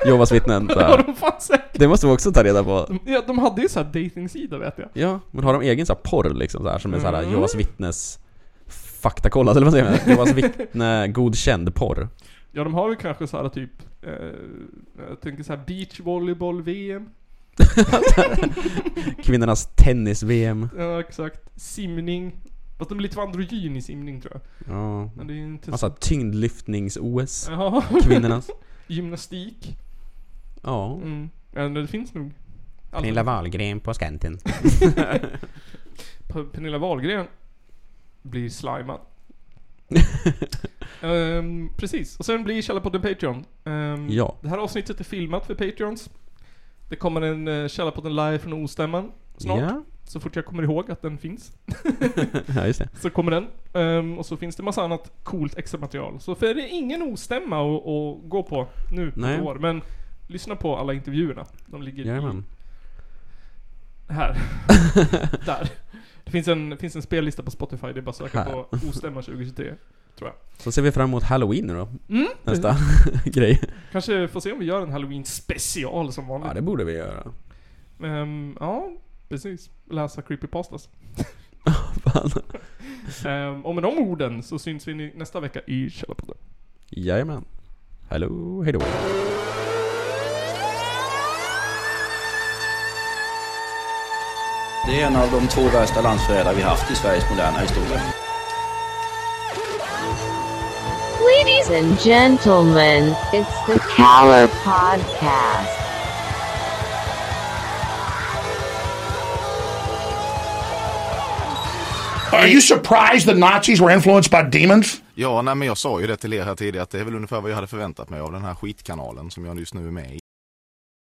Jehovas vittnen? Så Har här. de fan säkert. Det måste vi också ta reda på. De- Ja, de hade ju så här dejtingsida vet jag. Ja, men har de egen så här porr liksom så här, som är så här Mm. Jehovas vittnes faktakollad eller vad säger man? Jehovas vittne godkänd porr. Ja, de har väl kanske så här typ, eh, jag tänker så här beachvolleyboll-VM. Kvinnornas tennis-VM. Ja, exakt. Simning. Fast de blir lite androgyn i simning tror jag. Ja. Men det är ju inte Massa så- tyngdlyftnings-OS. Ja. Kvinnornas. Gymnastik. Ja. Mm. Ja, det finns nog. Alltså, Allt. Pernilla Wahlgren på Skanten. P- Pernilla Wahlgren blir slimad. Ehm, precis. Och sen blir Källarpodden Patreon. Ehm, Ja. Det här avsnittet är filmat för Patreons. Det kommer en uh, Källarpodden live från Ostämman snart. Ja. Så fort jag kommer ihåg att den finns. ja, just det. Så kommer den. Ehm, och så finns det massa annat coolt extra material. Så för det är ingen ostämma att, att gå på nu på Nej. ett år. Men lyssna på alla intervjuerna. De ligger Jajamän. i, här. Där. Det finns en, finns en spellista på Spotify. Det är bara att söka Här. på ostämma 2023. Tror jag. Så ser vi fram emot Halloween nu då. Mm. Nästa grej. Kanske får se om vi gör en halloween special som vanligt. Ja, det borde vi göra. Ehm, ja, precis. Läsa creepypastas. um, och med de orden så syns vi ni- nästa vecka i Källarpodden. Jajamän. Hallå, hejdå. Det är en av de två värsta landsförrädare vi haft i Sveriges moderna historia. Ladies and gentlemen, it's the Caller Podcast. Are you surprised the Nazis were influenced by demons? Ja, nej, men jag sa ju det till er här tidigare att det är väl ungefär vad jag hade förväntat mig av den här skitkanalen som jag just nu är med i.